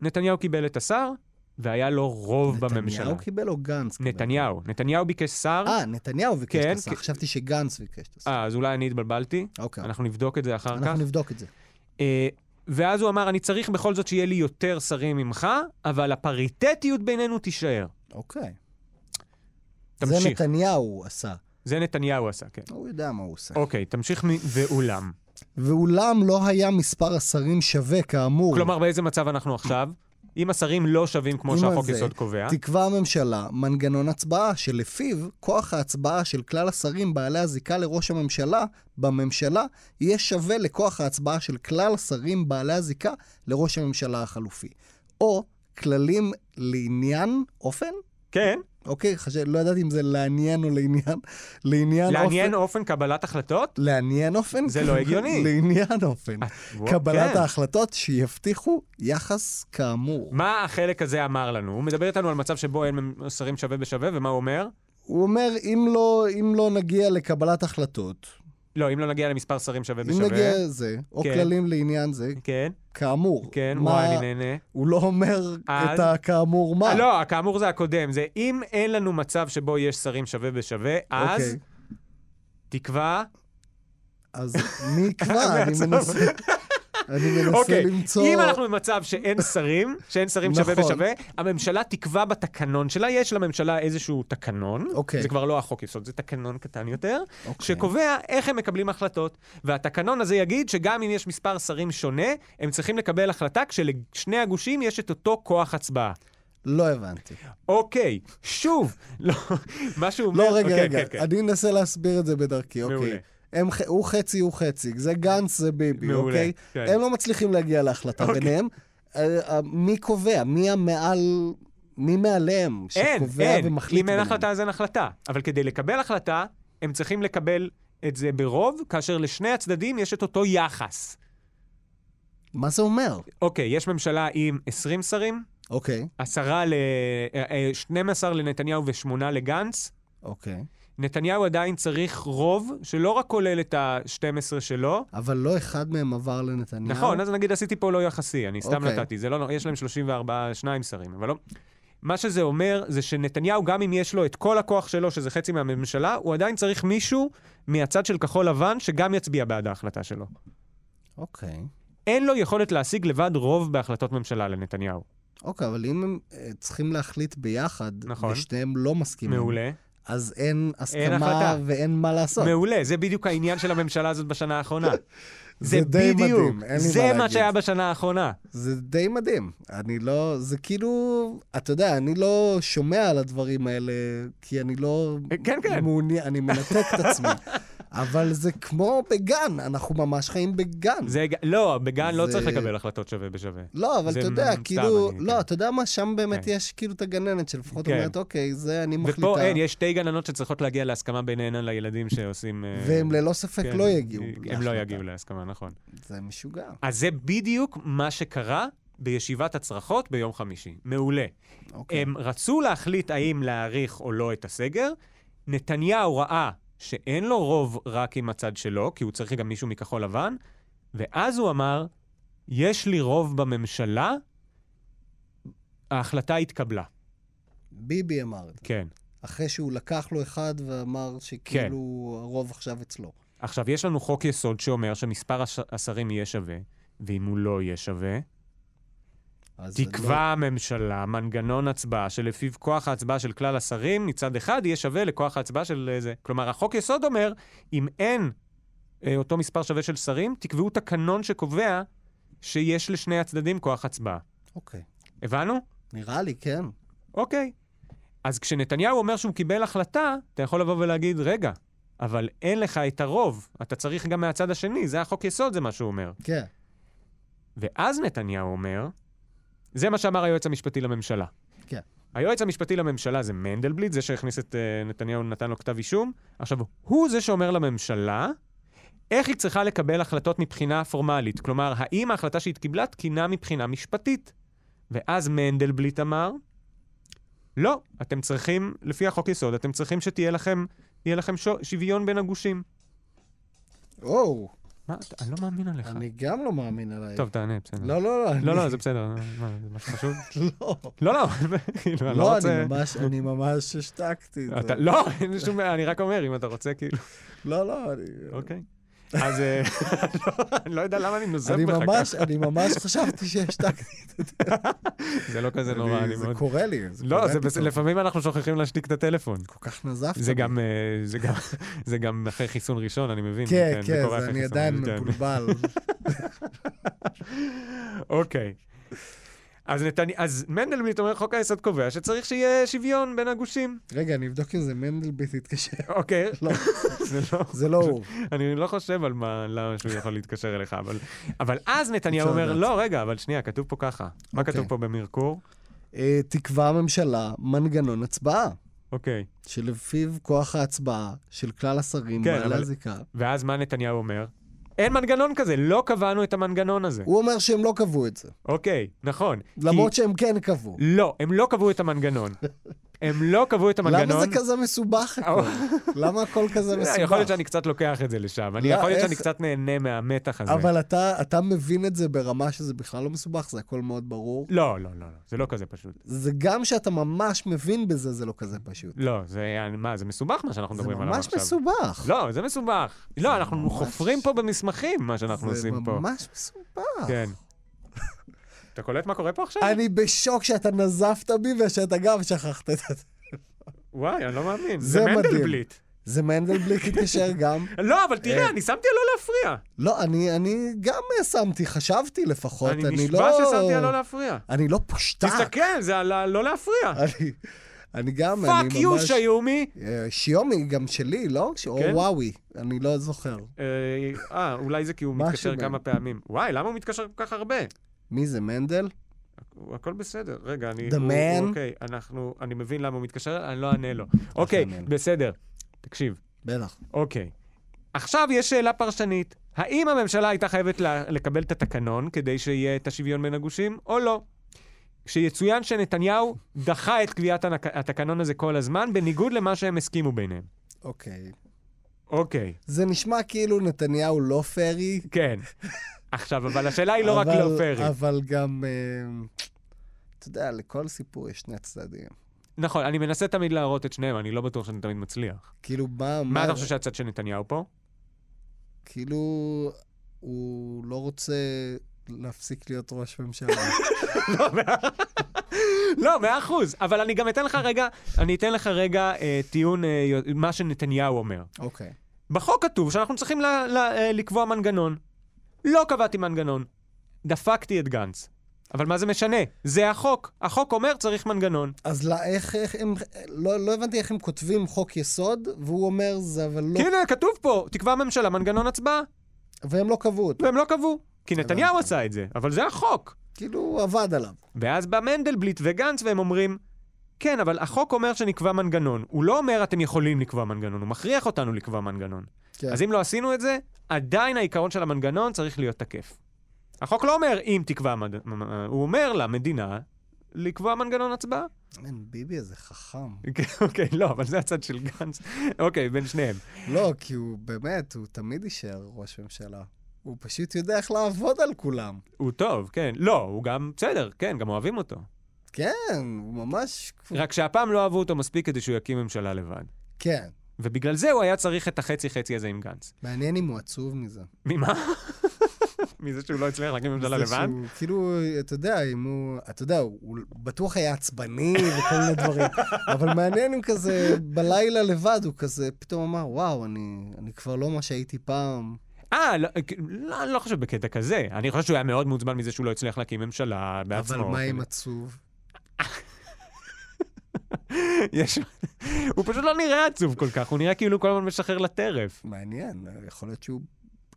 Speaker 2: נתניהו קיבל את השר, והיה לו רוב בממשלה.
Speaker 3: נתניהו קיבל או גנץ קיבל?
Speaker 2: נתניהו. נתניהו ביקש שר.
Speaker 3: אה, נתניהו ביקש
Speaker 2: כן,
Speaker 3: את השר.
Speaker 2: כן.
Speaker 3: חשבתי שגנץ ביקש את השר.
Speaker 2: אה, אז אולי אני התבלבלתי.
Speaker 3: אוקיי.
Speaker 2: אנחנו נבדוק את זה אחר כך.
Speaker 3: אנחנו נבדוק את זה.
Speaker 2: אה, ואז הוא אמר, אני צריך בכל זאת שיהיה לי יותר שרים ממך, אבל הפריטטיות בינינו תישאר.
Speaker 3: אוקיי. זה
Speaker 2: תמשיך.
Speaker 3: נתניהו עשה.
Speaker 2: זה נתניהו עשה, כן.
Speaker 3: הוא יודע מה הוא עושה.
Speaker 2: אוקיי, תמשיך מ... ואולם.
Speaker 3: ואולם לא היה מספר השרים שווה כאמור.
Speaker 2: כלומר, באיזה מצב אנחנו עכשיו? אם השרים לא שווים כמו
Speaker 3: עם
Speaker 2: שהחוק
Speaker 3: הזה,
Speaker 2: יסוד קובע.
Speaker 3: תקבע הממשלה מנגנון הצבעה שלפיו כוח ההצבעה של כלל השרים בעלי הזיקה לראש הממשלה בממשלה יהיה שווה לכוח ההצבעה של כלל השרים בעלי הזיקה לראש הממשלה החלופי. או כללים לעניין אופן?
Speaker 2: כן,
Speaker 3: אוקיי, חשב, לא ידעתי אם זה לעניין או לעניין. לעניין
Speaker 2: לעניין
Speaker 3: אופן.
Speaker 2: אופן קבלת החלטות?
Speaker 3: לעניין אופן?
Speaker 2: זה לא הגיוני.
Speaker 3: [LAUGHS]
Speaker 2: אה,
Speaker 3: לעניין אופן.
Speaker 2: וואו,
Speaker 3: קבלת
Speaker 2: כן.
Speaker 3: ההחלטות שיבטיחו יחס כאמור.
Speaker 2: מה החלק הזה אמר לנו? הוא מדבר איתנו על מצב שבו אין שרים שווה בשווה, ומה הוא אומר?
Speaker 3: הוא אומר, אם לא, אם לא נגיע לקבלת החלטות,
Speaker 2: לא, אם לא נגיע למספר שרים שווה
Speaker 3: אם
Speaker 2: בשווה.
Speaker 3: נגיע לזה, או
Speaker 2: כן.
Speaker 3: כללים לעניין זה,
Speaker 2: כן,
Speaker 3: כאמור.
Speaker 2: כן,
Speaker 3: מה-
Speaker 2: וואי, אני נהנה.
Speaker 3: הוא לא אומר
Speaker 2: אז?
Speaker 3: את הכאמור מה.
Speaker 2: אה, לא, כאמור זה הקודם, זה אם אין לנו מצב שבו יש שרים שווה בשווה, אז
Speaker 3: אוקיי.
Speaker 2: תקבע...
Speaker 3: אז מי
Speaker 2: [LAUGHS]
Speaker 3: יקבע? אני מנסה... אני מנסה
Speaker 2: אוקיי,
Speaker 3: למצוא...
Speaker 2: אם אנחנו במצב שאין שרים, שאין שרים שווה
Speaker 3: נכון.
Speaker 2: בשווה, הממשלה תקבע בתקנון שלה, יש לממשלה איזשהו תקנון,
Speaker 3: אוקיי.
Speaker 2: זה כבר לא החוק יסוד, זה תקנון קטן יותר,
Speaker 3: אוקיי.
Speaker 2: שקובע איך הם מקבלים החלטות. והתקנון הזה יגיד שגם אם יש מספר שרים שונה, הם צריכים לקבל החלטה כשלשני הגושים יש את אותו כוח הצבעה.
Speaker 3: לא הבנתי.
Speaker 2: אוקיי, שוב, לא, מה שהוא אומר...
Speaker 3: לא, רגע,
Speaker 2: אוקיי, כן,
Speaker 3: רגע,
Speaker 2: כן.
Speaker 3: אני אנסה להסביר את זה בדרכי,
Speaker 2: מעולה.
Speaker 3: אוקיי. הם, ח- הוא חצי, הוא חצי, זה גנץ, זה ביבי,
Speaker 2: מעולה,
Speaker 3: אוקיי?
Speaker 2: כן.
Speaker 3: הם לא מצליחים להגיע להחלטה
Speaker 2: אוקיי.
Speaker 3: ביניהם. אה, אה, מי קובע? מי המעל... מי מעליהם
Speaker 2: אין,
Speaker 3: שקובע
Speaker 2: אין.
Speaker 3: ומחליט
Speaker 2: אם אין
Speaker 3: ביניהם?
Speaker 2: החלטה, אז אין החלטה. אבל כדי לקבל החלטה, הם צריכים לקבל את זה ברוב, כאשר לשני הצדדים יש את אותו יחס.
Speaker 3: מה זה אומר?
Speaker 2: אוקיי, יש ממשלה עם 20 שרים,
Speaker 3: אוקיי,
Speaker 2: 10 ל... אה, אה, 12 לנתניהו ו-8 לגנץ.
Speaker 3: אוקיי.
Speaker 2: נתניהו עדיין צריך רוב שלא רק כולל את ה-12 שלו.
Speaker 3: אבל לא אחד מהם עבר לנתניהו.
Speaker 2: נכון, אז נגיד עשיתי פה לא יחסי, אני סתם
Speaker 3: אוקיי.
Speaker 2: נתתי, זה לא, נורא, יש להם 34, שניים שרים, אבל לא... מה שזה אומר זה שנתניהו, גם אם יש לו את כל הכוח שלו, שזה חצי מהממשלה, הוא עדיין צריך מישהו מהצד של כחול לבן שגם יצביע בעד ההחלטה שלו.
Speaker 3: אוקיי.
Speaker 2: אין לו יכולת להשיג לבד רוב בהחלטות ממשלה לנתניהו.
Speaker 3: אוקיי, אבל אם הם אה, צריכים להחליט ביחד,
Speaker 2: נכון.
Speaker 3: ושניהם לא מסכימים,
Speaker 2: מעולה.
Speaker 3: אז אין הסכמה
Speaker 2: החלטה.
Speaker 3: ואין מה לעשות.
Speaker 2: מעולה, זה בדיוק העניין של הממשלה הזאת בשנה האחרונה.
Speaker 3: [LAUGHS] זה די מדהים, אין לי מה
Speaker 2: זה מה
Speaker 3: להגיד.
Speaker 2: שהיה בשנה האחרונה.
Speaker 3: זה די מדהים. אני לא, זה כאילו, אתה יודע, אני לא שומע על הדברים האלה, כי אני לא...
Speaker 2: כן, כן.
Speaker 3: מעוני, אני מנתק את
Speaker 2: [LAUGHS]
Speaker 3: עצמי. אבל זה כמו בגן, אנחנו ממש חיים בגן.
Speaker 2: זה... לא, בגן לא
Speaker 3: זה-
Speaker 2: צריך לקבל החלטות שווה בשווה.
Speaker 3: לא, אבל
Speaker 2: זה
Speaker 3: אתה יודע,
Speaker 2: סתם,
Speaker 3: כאילו,
Speaker 2: אני- כן.
Speaker 3: לא, אתה יודע מה, שם באמת
Speaker 2: כן.
Speaker 3: יש כאילו את הגננת שלפחות
Speaker 2: כן.
Speaker 3: אומרת, אוקיי, זה אני מחליטה.
Speaker 2: ופה אין, יש שתי גננות שצריכות להגיע להסכמה ביניהן על הילדים שעושים... אה,
Speaker 3: והם ללא ספק
Speaker 2: כן,
Speaker 3: לא יגיעו.
Speaker 2: הם לא
Speaker 3: להחלטה.
Speaker 2: יגיעו להסכמה, נכון.
Speaker 3: זה משוגע.
Speaker 2: אז זה בדיוק מה שקרה בישיבת הצרחות ביום חמישי. מעולה.
Speaker 3: אוקיי.
Speaker 2: הם רצו להחליט האם להאריך או לא את הסגר. נתניהו ראה שאין לו רוב רק עם הצד שלו, כי הוא צריך גם מישהו מכחול לבן, ואז הוא אמר, יש לי רוב בממשלה, ההחלטה התקבלה.
Speaker 3: ביבי אמר את זה.
Speaker 2: כן.
Speaker 3: אחרי שהוא לקח לו אחד ואמר שכאילו
Speaker 2: כן.
Speaker 3: הרוב עכשיו אצלו.
Speaker 2: עכשיו, יש לנו חוק יסוד שאומר שמספר הש... השרים יהיה שווה, ואם הוא לא יהיה שווה,
Speaker 3: אז לא- זה
Speaker 2: תקבע הממשלה מנגנון הצבעה שלפיו כוח ההצבעה של כלל השרים מצד אחד יהיה שווה לכוח ההצבעה של אה, זה. כלומר, החוק יסוד אומר, אם אין אה, אותו מספר שווה של שרים, תקבעו תקנון שקובע שיש לשני הצדדים כוח הצבעה.
Speaker 3: לא- אוקיי.
Speaker 2: הבנו?
Speaker 3: נראה לי, כן.
Speaker 2: אוקיי. אז כשנתניהו אומר שהוא קיבל החלטה, אתה יכול לבוא ולהגיד, רגע, אבל אין לך את הרוב, אתה צריך גם מהצד השני, זה החוק יסוד, זה מה שהוא אומר.
Speaker 3: כן.
Speaker 2: ואז נתניהו אומר, זה מה שאמר היועץ המשפטי לממשלה.
Speaker 3: כן.
Speaker 2: היועץ המשפטי לממשלה זה מנדלבליט, זה שהכניס את אה, נתניהו, נתן לו כתב אישום. עכשיו, הוא זה שאומר לממשלה איך היא צריכה לקבל החלטות מבחינה פורמלית. כלומר, האם ההחלטה שהיא קיבלה תקינה מבחינה משפטית. ואז מנדלבליט אמר, לא, אתם צריכים, לפי החוק יסוד, אתם צריכים שתהיה לכם, יהיה לכם שו- שוויון בין הגושים.
Speaker 3: או,
Speaker 2: מה, אתה- אני לא מאמין עליך.
Speaker 3: אני גם לא מאמין עליי.
Speaker 2: טוב, תענה, בסדר.
Speaker 3: לא, לא, לא.
Speaker 2: לא,
Speaker 3: אני-
Speaker 2: לא, זה בסדר, מה, זה משהו חשוב?
Speaker 3: [LAUGHS] לא.
Speaker 2: לא, לא, כאילו, אני לא
Speaker 3: לא,
Speaker 2: רוצה...
Speaker 3: אני ממש, אני ממש השתקתי את זה.
Speaker 2: אתה- לא, אין שום בעיה, אני רק אומר, אם אתה רוצה, כאילו,
Speaker 3: לא, לא, אני...
Speaker 2: אוקיי. אז אה, [LAUGHS] לא, אני לא יודע למה אני נוזף
Speaker 3: אני
Speaker 2: בך
Speaker 3: ממש, אני ממש חשבתי שהשתקתי.
Speaker 2: ככה. זה לא כזה נורא, אני
Speaker 3: זה
Speaker 2: מאוד...
Speaker 3: קורה לי. זה
Speaker 2: לא,
Speaker 3: קורה
Speaker 2: זה
Speaker 3: פתאום.
Speaker 2: בס- לפעמים אנחנו שוכחים להשתיק את הטלפון.
Speaker 3: כל כך נזפת.
Speaker 2: זה
Speaker 3: בי.
Speaker 2: גם, אה, זה גם, [LAUGHS] זה גם אחרי חיסון ראשון, אני מבין.
Speaker 3: כן,
Speaker 2: זה
Speaker 3: כן,
Speaker 2: קורה
Speaker 3: זה
Speaker 2: אחרי [LAUGHS]
Speaker 3: אני
Speaker 2: חיסון,
Speaker 3: עדיין
Speaker 2: כן.
Speaker 3: מבולבל.
Speaker 2: אוקיי. אז, נתני... אז מנדלבליט אומר, חוק היסוד קובע שצריך שיהיה שוויון בין הגושים.
Speaker 3: רגע, אני אבדוק אם זה מנדלבליט התקשר.
Speaker 2: אוקיי.
Speaker 3: לא,
Speaker 2: [LAUGHS] זה לא...
Speaker 3: זה לא הוא.
Speaker 2: אני לא חושב על מה, למה שהוא יכול להתקשר אליך, אבל, אבל אז נתניהו
Speaker 3: אפשר
Speaker 2: אומר,
Speaker 3: לדעת.
Speaker 2: לא, רגע, אבל שנייה, כתוב פה ככה. מה
Speaker 3: אוקיי.
Speaker 2: כתוב פה במרקור?
Speaker 3: [LAUGHS] אה, תקבע הממשלה מנגנון הצבעה,
Speaker 2: אוקיי.
Speaker 3: שלפיו כוח ההצבעה של כלל השרים
Speaker 2: כן,
Speaker 3: מעלה
Speaker 2: אבל-
Speaker 3: זיקה.
Speaker 2: ואז מה נתניהו אומר? אין מנגנון כזה, לא קבענו את המנגנון הזה.
Speaker 3: הוא אומר שהם לא קבעו את זה,
Speaker 2: אוקיי, נכון. כי-
Speaker 3: למרות שהם כן קבעו.
Speaker 2: לא, הם לא קבעו את המנגנון. הם לא קבעו את המנגנון.
Speaker 3: למה זה כזה מסובך הכל?
Speaker 2: [LAUGHS]
Speaker 3: למה הכל כזה
Speaker 2: אתה יודע, אה, יכול להיות
Speaker 3: מסובך?
Speaker 2: שאני קצת לוקח את זה לשם. אני
Speaker 3: לא,
Speaker 2: יכול להיות
Speaker 3: איך-
Speaker 2: שאני קצת נהנה מהמתח הזה.
Speaker 3: אבל אתה, אתה מבין את זה ברמה שזה בכלל לא מסובך, זה הכל מאוד ברור.
Speaker 2: לא, לא, לא, לא, זה לא כזה פשוט.
Speaker 3: זה גם שאתה ממש מבין בזה, זה לא כזה פשוט.
Speaker 2: לא, זה, מה, זה מסובך מה שאנחנו
Speaker 3: זה
Speaker 2: מדברים עליו
Speaker 3: ממש
Speaker 2: עכשיו.
Speaker 3: מסובך.
Speaker 2: לא, זה מסובך. לא, אנחנו
Speaker 3: ממש-
Speaker 2: חופרים פה במסמכים, מה שאנחנו
Speaker 3: זה
Speaker 2: עושים פה.
Speaker 3: ממש מסובך. [LAUGHS]
Speaker 2: כן. אתה קולט מה קורה פה עכשיו?
Speaker 3: אני בשוק שאתה נזפת בי ושאתה גם שכחת את זה.
Speaker 2: וואי, אני לא מאמין.
Speaker 3: זה
Speaker 2: זה
Speaker 3: מדהים.
Speaker 2: מנדלבליט.
Speaker 3: זה מנדלבליט התקשר
Speaker 2: [LAUGHS]
Speaker 3: גם.
Speaker 2: לא, אבל תראה,
Speaker 3: אה.
Speaker 2: אני שמתי על לא להפריע.
Speaker 3: לא, אני, אני גם שמתי, חשבתי לפחות.
Speaker 2: אני
Speaker 3: לא...
Speaker 2: נשבע ששמתי על לא להפריע.
Speaker 3: אני לא פושטק.
Speaker 2: תסתכל, זה על ה- לא להפריע.
Speaker 3: [LAUGHS] אני, אני גם, אה, אני ממש...
Speaker 2: פאק יו, שיומי.
Speaker 3: אה, שיומי גם שלי, לא? ש... או
Speaker 2: כן.
Speaker 3: וואוי, אני לא זוכר.
Speaker 2: אה, אה, אולי זה כי הוא
Speaker 3: משהו
Speaker 2: מתקשר
Speaker 3: בין.
Speaker 2: כמה פעמים. וואי, למה הוא מתקשר כל כך הרבה?
Speaker 3: מי זה, מנדל?
Speaker 2: הוא- הכל בסדר, רגע, אני...
Speaker 3: The
Speaker 2: הוא-
Speaker 3: man.
Speaker 2: הוא- אוקיי, אנחנו... אני מבין למה הוא מתקשר, אני לא אענה לו. אוקיי,
Speaker 3: אענה לו.
Speaker 2: בסדר. תקשיב,
Speaker 3: בטח.
Speaker 2: אוקיי. עכשיו יש שאלה פרשנית. האם הממשלה הייתה חייבת ל- לקבל את התקנון כדי שיהיה את השוויון בין הגושים, או לא? שיצוין שנתניהו דחה את קביעת הנק- התקנון הזה כל הזמן, בניגוד למה שהם הסכימו ביניהם.
Speaker 3: אוקיי.
Speaker 2: אוקיי,
Speaker 3: זה נשמע כאילו נתניהו לא פרי.
Speaker 2: כן. עכשיו, אבל השאלה היא לא רק
Speaker 3: אבל-
Speaker 2: לא פרי.
Speaker 3: אבל גם, אה, אתה יודע, לכל סיפור יש שני צדדים.
Speaker 2: נכון, אני מנסה תמיד להראות את שניהם, אני לא בטוח שאני תמיד מצליח.
Speaker 3: כאילו, מה...
Speaker 2: מה אתה חושב שהצד של נתניהו פה? [LAUGHS]
Speaker 3: כאילו, הוא לא רוצה להפסיק להיות
Speaker 2: [LAUGHS]
Speaker 3: ראש ממשלה.
Speaker 2: לא, מאה- לא, מאה אחוז. אבל אני גם אתן לך רגע, אני אתן לך רגע אה, טיעון, אה, יו- מה שנתניהו אומר.
Speaker 3: אוקיי.
Speaker 2: בחוק כתוב שאנחנו צריכים ל- ל- אה, לקבוע מנגנון. לא קבעתי מנגנון. דפקתי את גנץ. אבל מה זה משנה? זה החוק. החוק אומר צריך מנגנון.
Speaker 3: אז לא, איך, איך הם, לא, לא הבנתי איך הם כותבים חוק יסוד, והוא אומר זה, אבל לא,
Speaker 2: כי הנה, כתוב פה, תקבע הממשלה מנגנון הצבעה,
Speaker 3: והם לא קבעו אותו.
Speaker 2: והם כן. לא קבעו. כי נתניהו
Speaker 3: הבנתי.
Speaker 2: עשה את זה, אבל זה החוק.
Speaker 3: כאילו, הוא עבד עליו.
Speaker 2: ואז בא מנדלבליט וגנץ והם אומרים, כן, אבל החוק אומר שנקבע מנגנון. הוא לא אומר אתם יכולים לקבוע מנגנון, הוא מכריח אותנו לקבוע מנגנון.
Speaker 3: כן.
Speaker 2: אז אם לא עשינו את זה, עדיין העיקרון של המנגנון צריך להיות תקף. החוק לא אומר אם תקבע, מד- מ- מ- אה, הוא אומר למדינה לקבוע מנגנון הצבעה. [LAUGHS]
Speaker 3: אין, ביבי איזה חכם.
Speaker 2: אוקיי, לא, אבל זה הצד של גנץ. אוקיי, בין שניהם.
Speaker 3: לא, כי הוא באמת, הוא תמיד יישאר ראש ממשלה. הוא פשוט יודע איך לעבוד על כולם.
Speaker 2: הוא טוב, כן. לא, הוא גם בסדר, כן, גם אוהבים אותו.
Speaker 3: כן, הוא ממש...
Speaker 2: רק שהפעם לא אהבו אותו מספיק כדי שהוא יקים ממשלה לבד.
Speaker 3: כן.
Speaker 2: ובגלל זה הוא היה צריך את החצי-חצי הזה עם גנץ.
Speaker 3: מעניין אם הוא עצוב מזה.
Speaker 2: ממה? [LAUGHS] מזה שהוא לא הצליח להקים ממשלה
Speaker 3: זה
Speaker 2: לבד?
Speaker 3: שהוא, כאילו, אתה יודע, אם הוא... אתה יודע, הוא בטוח היה עצבני וכל מיני
Speaker 2: [LAUGHS]
Speaker 3: דברים, אבל מעניין אם כזה, בלילה לבד, הוא כזה פתאום אמר, וואו, אני, אני כבר לא מה שהייתי פעם.
Speaker 2: אה, לא, לא, אני לא חושב בקטע כזה. אני חושב שהוא היה מאוד מעוצבן מזה שהוא לא הצליח להקים ממשלה בעצמו. אוקיי.
Speaker 3: אבל מה עם עצוב?
Speaker 2: יש... הוא פשוט לא נראה עצוב כל כך, הוא נראה כאילו הוא כל הזמן משחרר לטרף.
Speaker 3: מעניין, יכול להיות שהוא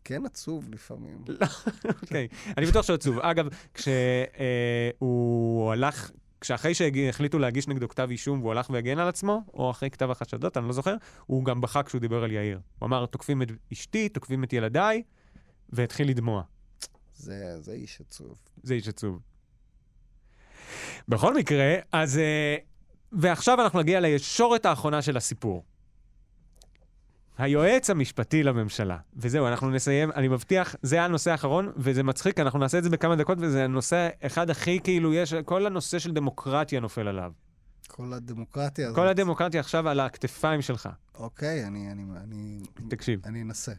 Speaker 3: כן עצוב לפעמים.
Speaker 2: אוקיי, אני בטוח שהוא עצוב. אגב, כשהוא הלך, כשאחרי שהחליטו להגיש נגדו כתב אישום והוא הלך והגן על עצמו, או אחרי כתב החשדות, אני לא זוכר, הוא גם בכה כשהוא דיבר על יאיר. הוא אמר, תוקפים את אשתי, תוקפים את ילדיי, והתחיל לדמוע.
Speaker 3: זה, זה איש עצוב.
Speaker 2: זה איש עצוב. בכל מקרה, אז... אה, ועכשיו אנחנו נגיע לישורת האחרונה של הסיפור. היועץ המשפטי לממשלה. וזהו, אנחנו נסיים, אני מבטיח, זה הנושא האחרון, וזה מצחיק, אנחנו נעשה את זה בכמה דקות, וזה הנושא אחד הכי כאילו יש, כל הנושא של דמוקרטיה נופל עליו.
Speaker 3: כל הדמוקרטיה הזאת.
Speaker 2: כל הדמוקרטיה עכשיו על הכתפיים שלך.
Speaker 3: אוקיי, אני, אני, אני,
Speaker 2: תקשיב.
Speaker 3: אני אנסה.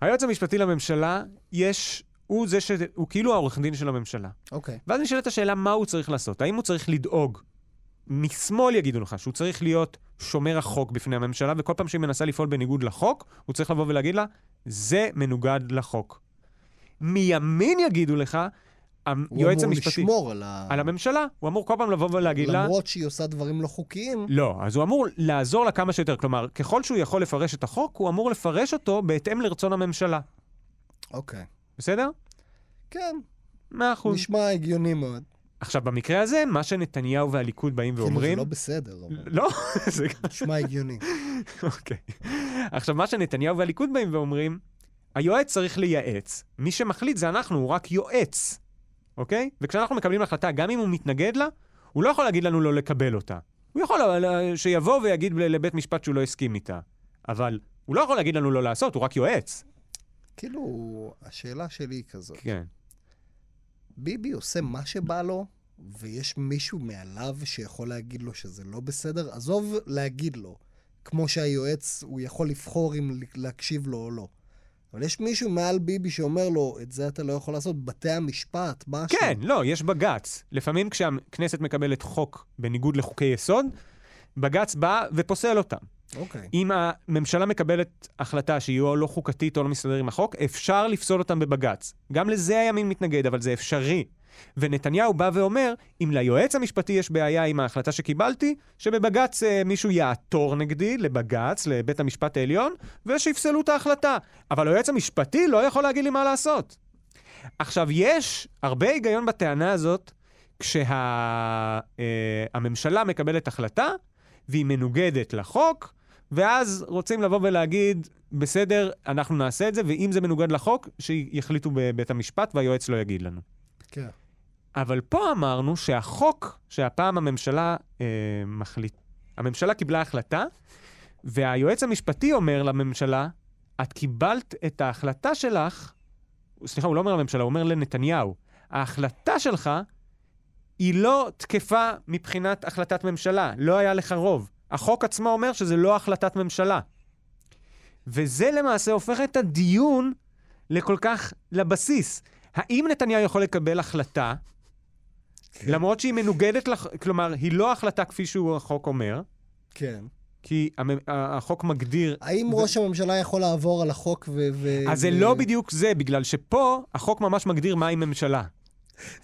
Speaker 2: היועץ המשפטי לממשלה, יש, הוא זה ש... הוא כאילו העורך דין של הממשלה.
Speaker 3: אוקיי.
Speaker 2: ואז נשאלת השאלה מה הוא צריך לעשות. האם הוא צריך לדאוג? משמאל יגידו לך שהוא צריך להיות שומר החוק בפני הממשלה, וכל פעם שהיא מנסה לפעול בניגוד לחוק, הוא צריך לבוא ולהגיד לה, זה מנוגד לחוק. מימין יגידו לך, היועץ המשפטי,
Speaker 3: הוא אמור לשמור על ה...
Speaker 2: על הממשלה, הוא אמור כל פעם לבוא ולהגיד לה...
Speaker 3: למרות שהיא עושה דברים לא חוקיים,
Speaker 2: לא, אז הוא אמור לעזור לה כמה שיותר. כלומר, ככל שהוא יכול לפרש את החוק, הוא אמור לפרש אותו בהתאם לרצון הממשלה.
Speaker 3: אוקיי.
Speaker 2: בסדר?
Speaker 3: כן,
Speaker 2: מאה אחוז.
Speaker 3: נשמע הגיוני מאוד.
Speaker 2: עכשיו, במקרה הזה, מה שנתניהו והליכוד באים
Speaker 3: כאילו זה
Speaker 2: ואומרים...
Speaker 3: לא בסדר,
Speaker 2: [LAUGHS]
Speaker 3: אבל
Speaker 2: לא, זה
Speaker 3: נשמע הגיוני.
Speaker 2: אוקיי. עכשיו, מה שנתניהו והליכוד באים ואומרים, היועץ צריך לייעץ. מי שמחליט זה אנחנו, הוא רק יועץ, אוקיי? וכשאנחנו מקבלים החלטה, גם אם הוא מתנגד לה, הוא לא יכול להגיד לנו לא לקבל אותה. הוא יכול אבל, שיבוא ויגיד ל- לבית משפט שהוא לא הסכים איתה. אבל הוא לא יכול להגיד לנו לא לעשות, הוא רק יועץ.
Speaker 3: כאילו, השאלה שלי היא כזאת.
Speaker 2: כן.
Speaker 3: ביבי עושה מה שבא לו, ויש מישהו מעליו שיכול להגיד לו שזה לא בסדר, עזוב להגיד לו. כמו שהיועץ, הוא יכול לבחור אם להקשיב לו או לא. אבל יש מישהו מעל ביבי שאומר לו, את זה אתה לא יכול לעשות, בתי המשפט, משהו.
Speaker 2: כן, לא, יש בג"ץ. לפעמים כשהכנסת מקבלת חוק בניגוד לחוקי יסוד, בג"ץ בא ופוסל אותם.
Speaker 3: אוקיי.
Speaker 2: אם הממשלה מקבלת החלטה שהיא או לא חוקתית או לא מסתדרת עם החוק, אפשר לפסול אותם בבג"ץ. גם לזה הימין מתנגד, אבל זה אפשרי. ונתניהו בא ואומר, אם ליועץ המשפטי יש בעיה עם ההחלטה שקיבלתי, שבבג"ץ אה, מישהו יעתור נגדי לבג"ץ, לבית המשפט העליון, ושיפסלו את ההחלטה. אבל היועץ המשפטי לא יכול להגיד לי מה לעשות. עכשיו, יש הרבה היגיון בטענה הזאת כשהממשלה מקבלת החלטה והיא מנוגדת לחוק, ואז רוצים לבוא ולהגיד, בסדר, אנחנו נעשה את זה, ואם זה מנוגד לחוק, שיחליטו בבית המשפט והיועץ לא יגיד לנו.
Speaker 3: כן.
Speaker 2: אבל פה אמרנו שהחוק שהפעם הממשלה אה, מחליט... הממשלה קיבלה החלטה, והיועץ המשפטי אומר לממשלה, את קיבלת את ההחלטה שלך, סליחה, הוא לא אומר לממשלה, הוא אומר לנתניהו, ההחלטה שלך היא לא תקפה מבחינת החלטת ממשלה, לא היה לך רוב. החוק עצמו אומר שזה לא החלטת ממשלה. וזה למעשה הופך את הדיון לכל כך, לבסיס. האם נתניהו יכול לקבל החלטה,
Speaker 3: כן.
Speaker 2: למרות שהיא מנוגדת, לח... כלומר, היא לא החלטה כפי שהוא החוק אומר,
Speaker 3: כן.
Speaker 2: כי המ... ה- החוק מגדיר...
Speaker 3: האם ראש הממשלה יכול לעבור על החוק ו... ו-
Speaker 2: אז זה
Speaker 3: ו-
Speaker 2: לא בדיוק זה, בגלל שפה החוק ממש מגדיר מהי ממשלה.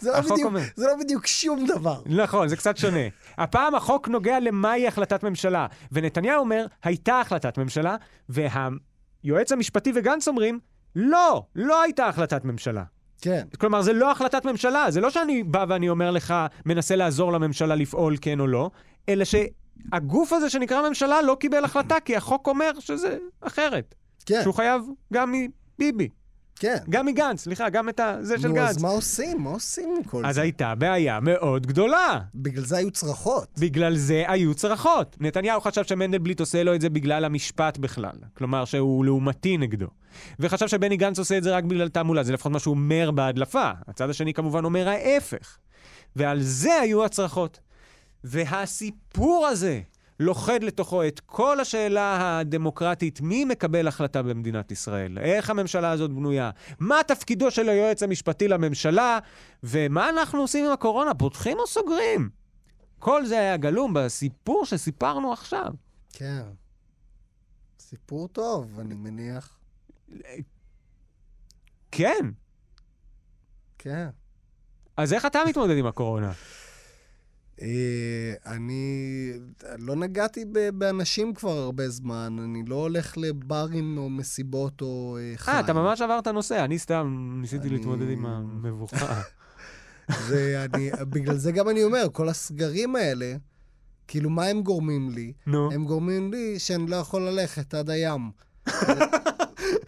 Speaker 3: זה לא
Speaker 2: החוק
Speaker 3: בדיוק-
Speaker 2: אומר.
Speaker 3: זה לא בדיוק שום דבר.
Speaker 2: [LAUGHS] נכון, זה קצת שונה. הפעם החוק נוגע למהי החלטת ממשלה, ונתניהו אומר, הייתה החלטת ממשלה, והיועץ המשפטי וגנץ אומרים, לא, לא הייתה החלטת ממשלה.
Speaker 3: כן.
Speaker 2: כלומר, זה לא החלטת ממשלה, זה לא שאני בא ואני אומר לך, מנסה לעזור לממשלה לפעול כן או לא, אלא שהגוף הזה שנקרא ממשלה לא קיבל החלטה, כי החוק אומר שזה אחרת.
Speaker 3: כן.
Speaker 2: שהוא חייב גם מביבי,
Speaker 3: כן.
Speaker 2: גם מגנץ, סליחה, גם את ה- זה של
Speaker 3: נו,
Speaker 2: גנץ.
Speaker 3: אז מה עושים? מה עושים עם כל
Speaker 2: אז
Speaker 3: זה?
Speaker 2: הייתה בעיה מאוד גדולה.
Speaker 3: בגלל זה היו צרחות.
Speaker 2: בגלל זה היו צרחות. נתניהו חשב שמנדלבליט עושה לו את זה בגלל המשפט בכלל. כלומר, שהוא לעומתי נגדו. וחשב שבני גנץ עושה את זה רק בגלל תעמולה. זה לפחות מה שהוא אומר בהדלפה. הצד השני כמובן אומר ההפך. ועל זה היו הצרחות. והסיפור הזה לוכד לתוכו את כל השאלה הדמוקרטית, מי מקבל החלטה במדינת ישראל, איך הממשלה הזאת בנויה, מה תפקידו של היועץ המשפטי לממשלה, ומה אנחנו עושים עם הקורונה, פותחים או סוגרים? כל זה היה גלום בסיפור שסיפרנו עכשיו.
Speaker 3: כן. סיפור טוב, אני מניח.
Speaker 2: כן,
Speaker 3: כן.
Speaker 2: אז איך אתה מתמודד עם הקורונה?
Speaker 3: אה, אני לא נגעתי ב- באנשים כבר הרבה זמן, אני לא הולך לברים או מסיבות או אה, חיים.
Speaker 2: אה, אתה ממש עברת נושא, אני סתם ניסיתי
Speaker 3: אני-
Speaker 2: להתמודד עם
Speaker 3: [LAUGHS]
Speaker 2: המבוכה.
Speaker 3: זה, אני, בגלל זה גם אני אומר, כל הסגרים האלה, כאילו, מה הם גורמים לי?
Speaker 2: נו.
Speaker 3: הם גורמים לי שאני לא יכול ללכת עד הים. [CLEARS THROAT]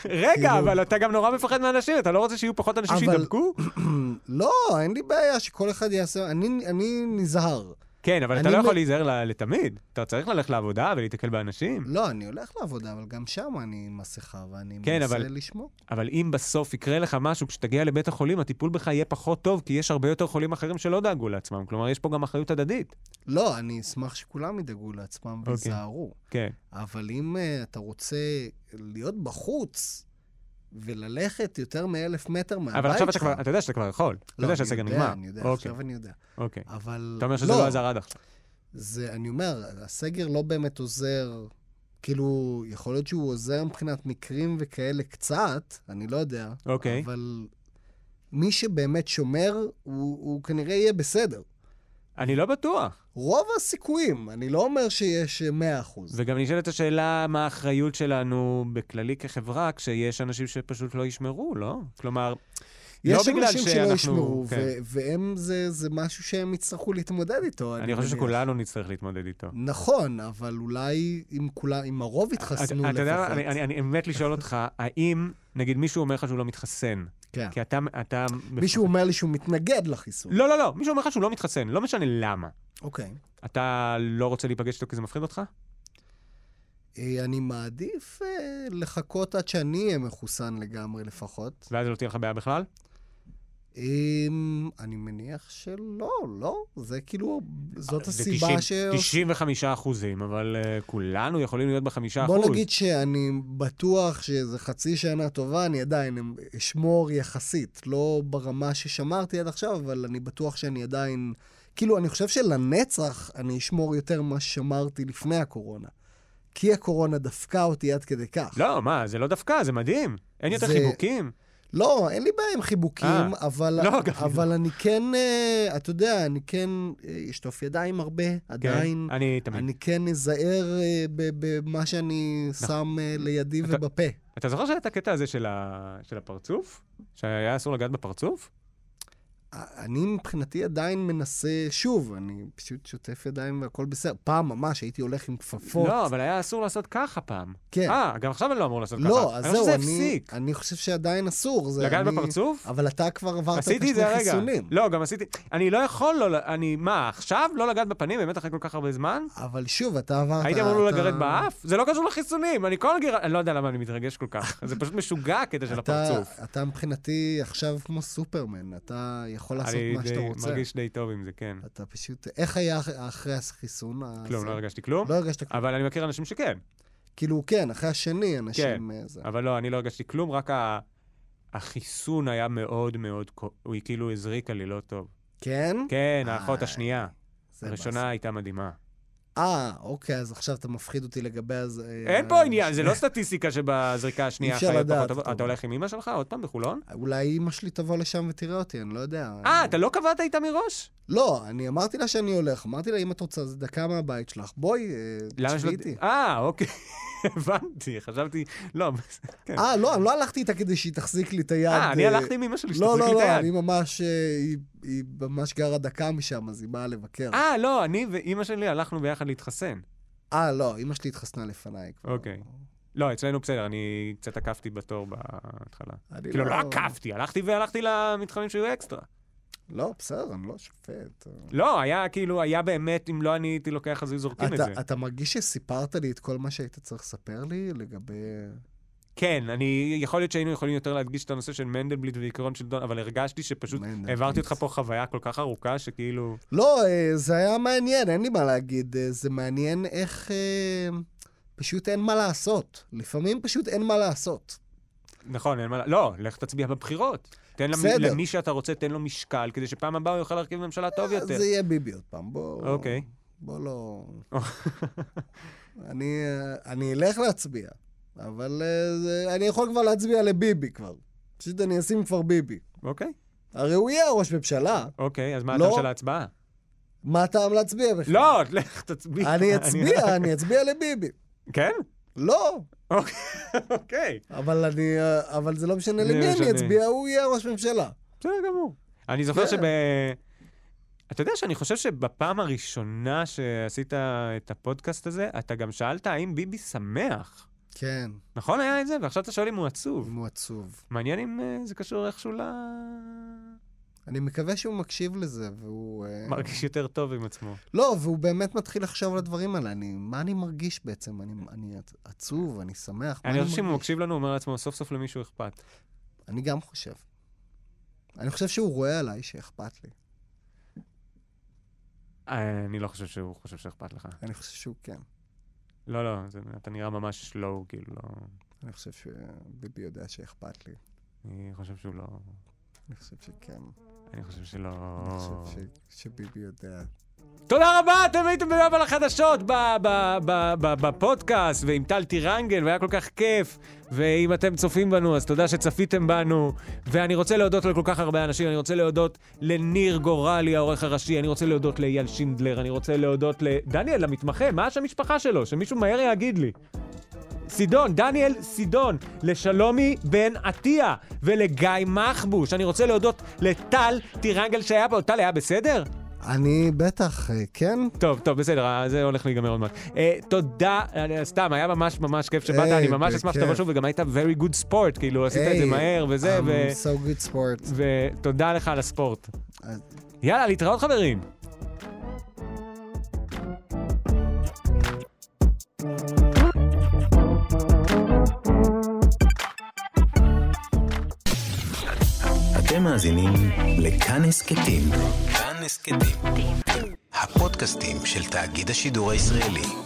Speaker 2: רגע,
Speaker 3: כאילו-
Speaker 2: אבל אתה גם נורא מפחד מאנשים, אתה לא רוצה שיהיו פחות אנשים
Speaker 3: אבל-
Speaker 2: שידבקו?
Speaker 3: לא, אין לי בעיה שכל אחד יעשה, אני, אני נזהר.
Speaker 2: כן, אבל אתה
Speaker 3: אני
Speaker 2: לא
Speaker 3: מ-
Speaker 2: יכול להיזהר ל- לתמיד. אתה צריך ללכת לעבודה ולהיתקל באנשים.
Speaker 3: לא, אני הולך לעבודה, אבל גם שם אני עם מסכה ואני
Speaker 2: כן,
Speaker 3: מנסה
Speaker 2: אבל-
Speaker 3: לשמור.
Speaker 2: אבל אם בסוף יקרה לך משהו, כשתגיע לבית החולים, הטיפול בך יהיה פחות טוב, כי יש הרבה יותר חולים אחרים שלא דאגו לעצמם. כלומר, יש פה גם אחריות הדדית.
Speaker 3: לא, אני אשמח שכולם ידאגו לעצמם
Speaker 2: אוקיי.
Speaker 3: ויזהרו.
Speaker 2: כן.
Speaker 3: אבל אם אה, אתה רוצה להיות בחוץ וללכת יותר מאלף מטר מהבית שלך... לא,
Speaker 2: אבל עכשיו אתה כבר, אתה יודע שאתה כבר יכול. אתה יודע שהסגר
Speaker 3: אני
Speaker 2: נגמר.
Speaker 3: יודע, אני יודע,
Speaker 2: אוקיי,
Speaker 3: עכשיו אני יודע.
Speaker 2: אוקיי.
Speaker 3: אבל...
Speaker 2: אתה אומר שזה לא עזר עד עכשיו.
Speaker 3: זה, אני אומר, הסגר לא באמת עוזר. כאילו, יכול להיות שהוא עוזר מבחינת מקרים וכאלה קצת, אני לא יודע.
Speaker 2: אוקיי.
Speaker 3: אבל מי שבאמת שומר, הוא, הוא כנראה יהיה בסדר.
Speaker 2: אני לא בטוח.
Speaker 3: רוב הסיכויים, אני לא אומר שיש 100%.
Speaker 2: וגם נשאלת השאלה מה האחריות שלנו בכללי כחברה, כשיש אנשים שפשוט לא ישמרו, לא? כלומר, לא
Speaker 3: יש
Speaker 2: בגלל
Speaker 3: אנשים שלא
Speaker 2: שאנחנו-
Speaker 3: ישמרו,
Speaker 2: כן.
Speaker 3: ו- והם זה, זה משהו שהם יצטרכו להתמודד איתו.
Speaker 2: אני חושב
Speaker 3: מניח.
Speaker 2: שכולנו נצטרך להתמודד איתו.
Speaker 3: נכון, אבל אולי אם כולם, אם הרוב יתחסנו
Speaker 2: אתה-
Speaker 3: לפחות.
Speaker 2: אה, אתה יודע, מה? אני- אני אני מת לשאול אותך, האם, נגיד מישהו אומר לך שהוא לא מתחסן,
Speaker 3: כן.
Speaker 2: כי אתה... אתה-
Speaker 3: מישהו אומר לי שהוא מתנגד לחיסון.
Speaker 2: לא, לא, לא, מישהו אומר לך שהוא לא מתחסן, לא משנה למה.
Speaker 3: אוקיי.
Speaker 2: אתה לא רוצה להיפגש איתו כי זה מפחיד אותך?
Speaker 3: אה, אני מעדיף אה, לחכות עד שאני אהיה מחוסן לגמרי לפחות.
Speaker 2: ואז לא תהיה לך בעיה בכלל?
Speaker 3: אמ, אני מניח שלא, לא. זה כאילו, זאת
Speaker 2: זה
Speaker 3: הסיבה
Speaker 2: 90
Speaker 3: ש...
Speaker 2: 95 אחוזים, אבל אה, כולנו יכולים להיות בחמישה אחוז.
Speaker 3: בוא נגיד שאני בטוח שזה חצי שנה טובה, אני עדיין אשמור יחסית, לא ברמה ששמרתי עד עכשיו, אבל אני בטוח שאני עדיין... כאילו, אני חושב שלנצח אני אשמור יותר ממה ששמרתי לפני הקורונה. כי הקורונה דפקה אותי עד כדי כך.
Speaker 2: לא, מה, זה לא דווקא, זה מדהים. אין יותר
Speaker 3: זה-
Speaker 2: חיבוקים.
Speaker 3: לא, אין לי בעיה עם חיבוקים,
Speaker 2: אה,
Speaker 3: אבל,
Speaker 2: לא, גם
Speaker 3: אבל אני כן, אה, אתה יודע, אני כן אה, אשטוף ידיים הרבה,
Speaker 2: כן,
Speaker 3: עדיין.
Speaker 2: אני תמיד.
Speaker 3: אני כן אזהר אה, ב- במה שאני שם אה, לידי
Speaker 2: נכון. אתה-
Speaker 3: ובפה.
Speaker 2: אתה זוכר שהיה את הקטע הזה של ה- של הפרצוף? שהיה אסור לגעת בפרצוף?
Speaker 3: אני מבחינתי עדיין מנסה, שוב, אני פשוט שוטף ידיים והכל בסדר. פעם ממש הייתי הולך עם כפפות.
Speaker 2: לא, אבל היה אסור לעשות ככה פעם.
Speaker 3: כן.
Speaker 2: אה, גם עכשיו אני לא אמור לעשות ככה.
Speaker 3: לא, אז
Speaker 2: אני
Speaker 3: זהו,
Speaker 2: חושב שזה
Speaker 3: אני,
Speaker 2: הפסיק.
Speaker 3: אני חושב שעדיין אסור. זה
Speaker 2: לגעת
Speaker 3: אני-
Speaker 2: בפרצוף?
Speaker 3: אבל אתה כבר עברת את
Speaker 2: עשיתי את
Speaker 3: השני
Speaker 2: זה הרגע.
Speaker 3: חיסונים.
Speaker 2: לא, גם עשיתי... אני לא יכול לא... ל- אני... מה, עכשיו לא לגעת בפנים? באמת אחרי כל כך הרבה זמן?
Speaker 3: אבל שוב, אתה עברת...
Speaker 2: הייתי אמור לו
Speaker 3: אתה-
Speaker 2: לגרד באף? זה לא קשור לחיסונים, אני כל הגר... אני לא יודע למה אני מתרגש כל כך. זה פשוט משוגע הקטע של
Speaker 3: אתה-
Speaker 2: הפרצוף.
Speaker 3: אתה מבחינתי עכשיו כמו סופרמן, אתה יכול לעשות
Speaker 2: אני
Speaker 3: מה
Speaker 2: די-
Speaker 3: שאתה רוצה.
Speaker 2: מרגיש די טוב עם זה, כן.
Speaker 3: אתה פשוט... איך היה אח- אחרי החיסון?
Speaker 2: כלום, לא הרגשתי כלום.
Speaker 3: לא הרגשת כלום.
Speaker 2: אבל אני מכיר אנשים שכן.
Speaker 3: כאילו, כן, אחרי השני אנשים...
Speaker 2: כן.
Speaker 3: אה, זה.
Speaker 2: אבל לא, אני לא הרגשתי כלום, רק ה- החיסון היה מאוד מאוד... כו- הוא כאילו הזריקה לי לא טוב.
Speaker 3: כן?
Speaker 2: כן, האחות
Speaker 3: איי,
Speaker 2: השנייה.
Speaker 3: זה
Speaker 2: הראשונה הייתה מדהימה.
Speaker 3: אה, אוקיי, אז עכשיו אתה מפחיד אותי לגבי הז...
Speaker 2: אין פה עניין, זה לא סטטיסטיקה שבזריקה השנייה
Speaker 3: אה, אי אפשר
Speaker 2: חיות
Speaker 3: לדעת,
Speaker 2: פחות
Speaker 3: אתה
Speaker 2: טובות. אתה
Speaker 3: אומר.
Speaker 2: הולך עם אמא שלך עוד פעם בחולון?
Speaker 3: אולי אימא שלי תבוא לשם ותראה אותי, אני לא יודע.
Speaker 2: אה,
Speaker 3: אני-
Speaker 2: אתה לא קבעת איתה מראש?
Speaker 3: לא, אני אמרתי לה שאני הולך, אמרתי לה, אם את רוצה, זה דקה מהבית שלך, בואי, אה,
Speaker 2: למה
Speaker 3: תשבי
Speaker 2: שלא...
Speaker 3: איתי.
Speaker 2: אה, אוקיי. [LAUGHS] הבנתי, חשבתי... לא, כן.
Speaker 3: אה, לא, אני לא הלכתי איתה כדי שהיא תחזיק לי את היד.
Speaker 2: אה, אני
Speaker 3: אה,
Speaker 2: הלכתי עם אמא שלי
Speaker 3: לא,
Speaker 2: שתחזיק לי
Speaker 3: לא,
Speaker 2: את
Speaker 3: לא, אני
Speaker 2: היד.
Speaker 3: ממש, אה, היא- היא ממש גרה דקה משם, אז היא באה לבקר.
Speaker 2: אה, לא, אני ואימא שלי הלכנו ביחד להתחסן.
Speaker 3: אה, לא, אמא שלי התחסנה לפניי כבר.
Speaker 2: אוקיי. לא, אצלנו בסדר, אני קצת עקפתי בתור בהתחלה.
Speaker 3: אני
Speaker 2: כאילו, לא עקפתי, הלכתי והלכתי למתחמים שהיו אקסטרה.
Speaker 3: לא, בסדר, אני לא שופט.
Speaker 2: לא, היה כאילו, היה באמת, אם לא אני הייתי לוקח, אז היו זורקים את זה.
Speaker 3: אתה, אתה מרגיש שסיפרת לי את כל מה שהיית צריך לספר לי לגבי...
Speaker 2: כן, אני, יכול להיות שהיינו יכולים יותר להדגיש את הנושא של מנדלבליט ועיקרון של דון, אבל הרגשתי שפשוט
Speaker 3: מנדלבליט.
Speaker 2: העברתי אותך פה חוויה כל כך ארוכה, שכאילו...
Speaker 3: לא, אה, זה היה מעניין, אין לי מה להגיד. אה, זה מעניין איך... אה, פשוט אין מה לעשות. לפעמים פשוט אין מה לעשות.
Speaker 2: נכון, אין מה... ל- לא, לך תצביע בבחירות. תן למ...
Speaker 3: בסדר.
Speaker 2: למי שאתה רוצה, תן לו משקל, כדי שפעם הבאה הוא יוכל להרכיב ממשלה טוב
Speaker 3: אז
Speaker 2: יותר.
Speaker 3: אה, זה יהיה ביבי עוד פעם, בוא...
Speaker 2: אוקיי.
Speaker 3: בוא לא...
Speaker 2: [LAUGHS]
Speaker 3: אני, אה, אני אלך להצביע, אבל אה, זה- אני יכול כבר להצביע לביבי כבר. פשוט אני אשים כבר ביבי.
Speaker 2: אוקיי,
Speaker 3: הרי הוא יהיה ראש ממשלה,
Speaker 2: אוקיי, אז מה
Speaker 3: לא.
Speaker 2: הטעם של ההצבעה?
Speaker 3: מה הטעם להצביע בכלל?
Speaker 2: לא, לך תצביע.
Speaker 3: אני אצביע, אני אצביע לביבי.
Speaker 2: כן? [LAUGHS]
Speaker 3: לא,
Speaker 2: אוקיי.
Speaker 3: אבל אני, אה, אבל זה לא משנה
Speaker 2: זה
Speaker 3: למי אני
Speaker 2: משנה.
Speaker 3: אצביע, הוא יהיה ראש ממשלה.
Speaker 2: בסדר גמור. אני זוכר
Speaker 3: כן.
Speaker 2: שב... אתה יודע שאני חושב שבפעם הראשונה שעשית את הפודקאסט הזה, אתה גם שאלת האם ביבי שמח.
Speaker 3: כן,
Speaker 2: נכון היה את זה? ועכשיו אתה שואל אם הוא עצוב.
Speaker 3: אם הוא עצוב.
Speaker 2: מעניין אם אה, זה קשור איכשהו ל... אה.
Speaker 3: אני מקווה שהוא מקשיב לזה, והוא... אה,
Speaker 2: מרגיש יותר טוב עם עצמו.
Speaker 3: לא, והוא באמת מתחיל לחשוב על הדברים האלה. אני, מה אני מרגיש בעצם? אני, אני עצ- עצוב, אני שמח, מה
Speaker 2: אני חושב שאם הוא
Speaker 3: מרגיש?
Speaker 2: מקשיב לנו, הוא אומר לעצמו, סוף סוף למישהו אכפת.
Speaker 3: אני גם חושב. אני חושב שהוא רואה עליי שאכפת לי.
Speaker 2: אה, אני לא חושב שהוא חושב שאכפת לך.
Speaker 3: אני חושב שהוא כן.
Speaker 2: לא, לא, זה- אתה נראה ממש לא, כאילו, לא...
Speaker 3: אני חושב שביבי יודע שאכפת לי.
Speaker 2: אני חושב שהוא לא...
Speaker 3: אני חושב שכן.
Speaker 2: אני חושב שלא...
Speaker 3: אני חושב ש- שביבי יודע.
Speaker 2: תודה רבה, אתם הייתם ביום על החדשות ב- ב- ב- ב- בפודקאסט, ועם טל טירנגל, והיה כל כך כיף. ואם אתם צופים בנו, אז תודה שצפיתם בנו. ואני רוצה להודות לכל כך הרבה אנשים, אני רוצה להודות לניר גורלי, העורך הראשי, אני רוצה להודות לאייל שינדלר, אני רוצה להודות לדניאל, המתמחה, מה השם משפחה שלו? שמישהו מהר יגיד לי. סידון, דניאל סידון, לשלומי בן עטיה ולגיא מחבוש. אני רוצה להודות לטל טירנגל שהיה פה. טל היה בסדר?
Speaker 3: אני בטח, אה, כן?
Speaker 2: טוב, טוב, בסדר, אה, זה הולך להיגמר עוד מעט. אה, תודה, אה, סתם, היה ממש ממש כיף שבאת,
Speaker 3: היי,
Speaker 2: אני ממש אשמח שתבוא
Speaker 3: בכיף.
Speaker 2: שוב, וגם היית very good sport, כאילו, עשית את זה
Speaker 3: היי,
Speaker 2: מהר וזה, ו-
Speaker 3: I'm so good sport.
Speaker 2: ותודה לך על הספורט.
Speaker 3: אז-
Speaker 2: יאללה, להתראות חברים.
Speaker 1: אתם מאזינים לכאן הסכתים. כאן הסכתים. הפודקאסטים של תאגיד השידור הישראלי.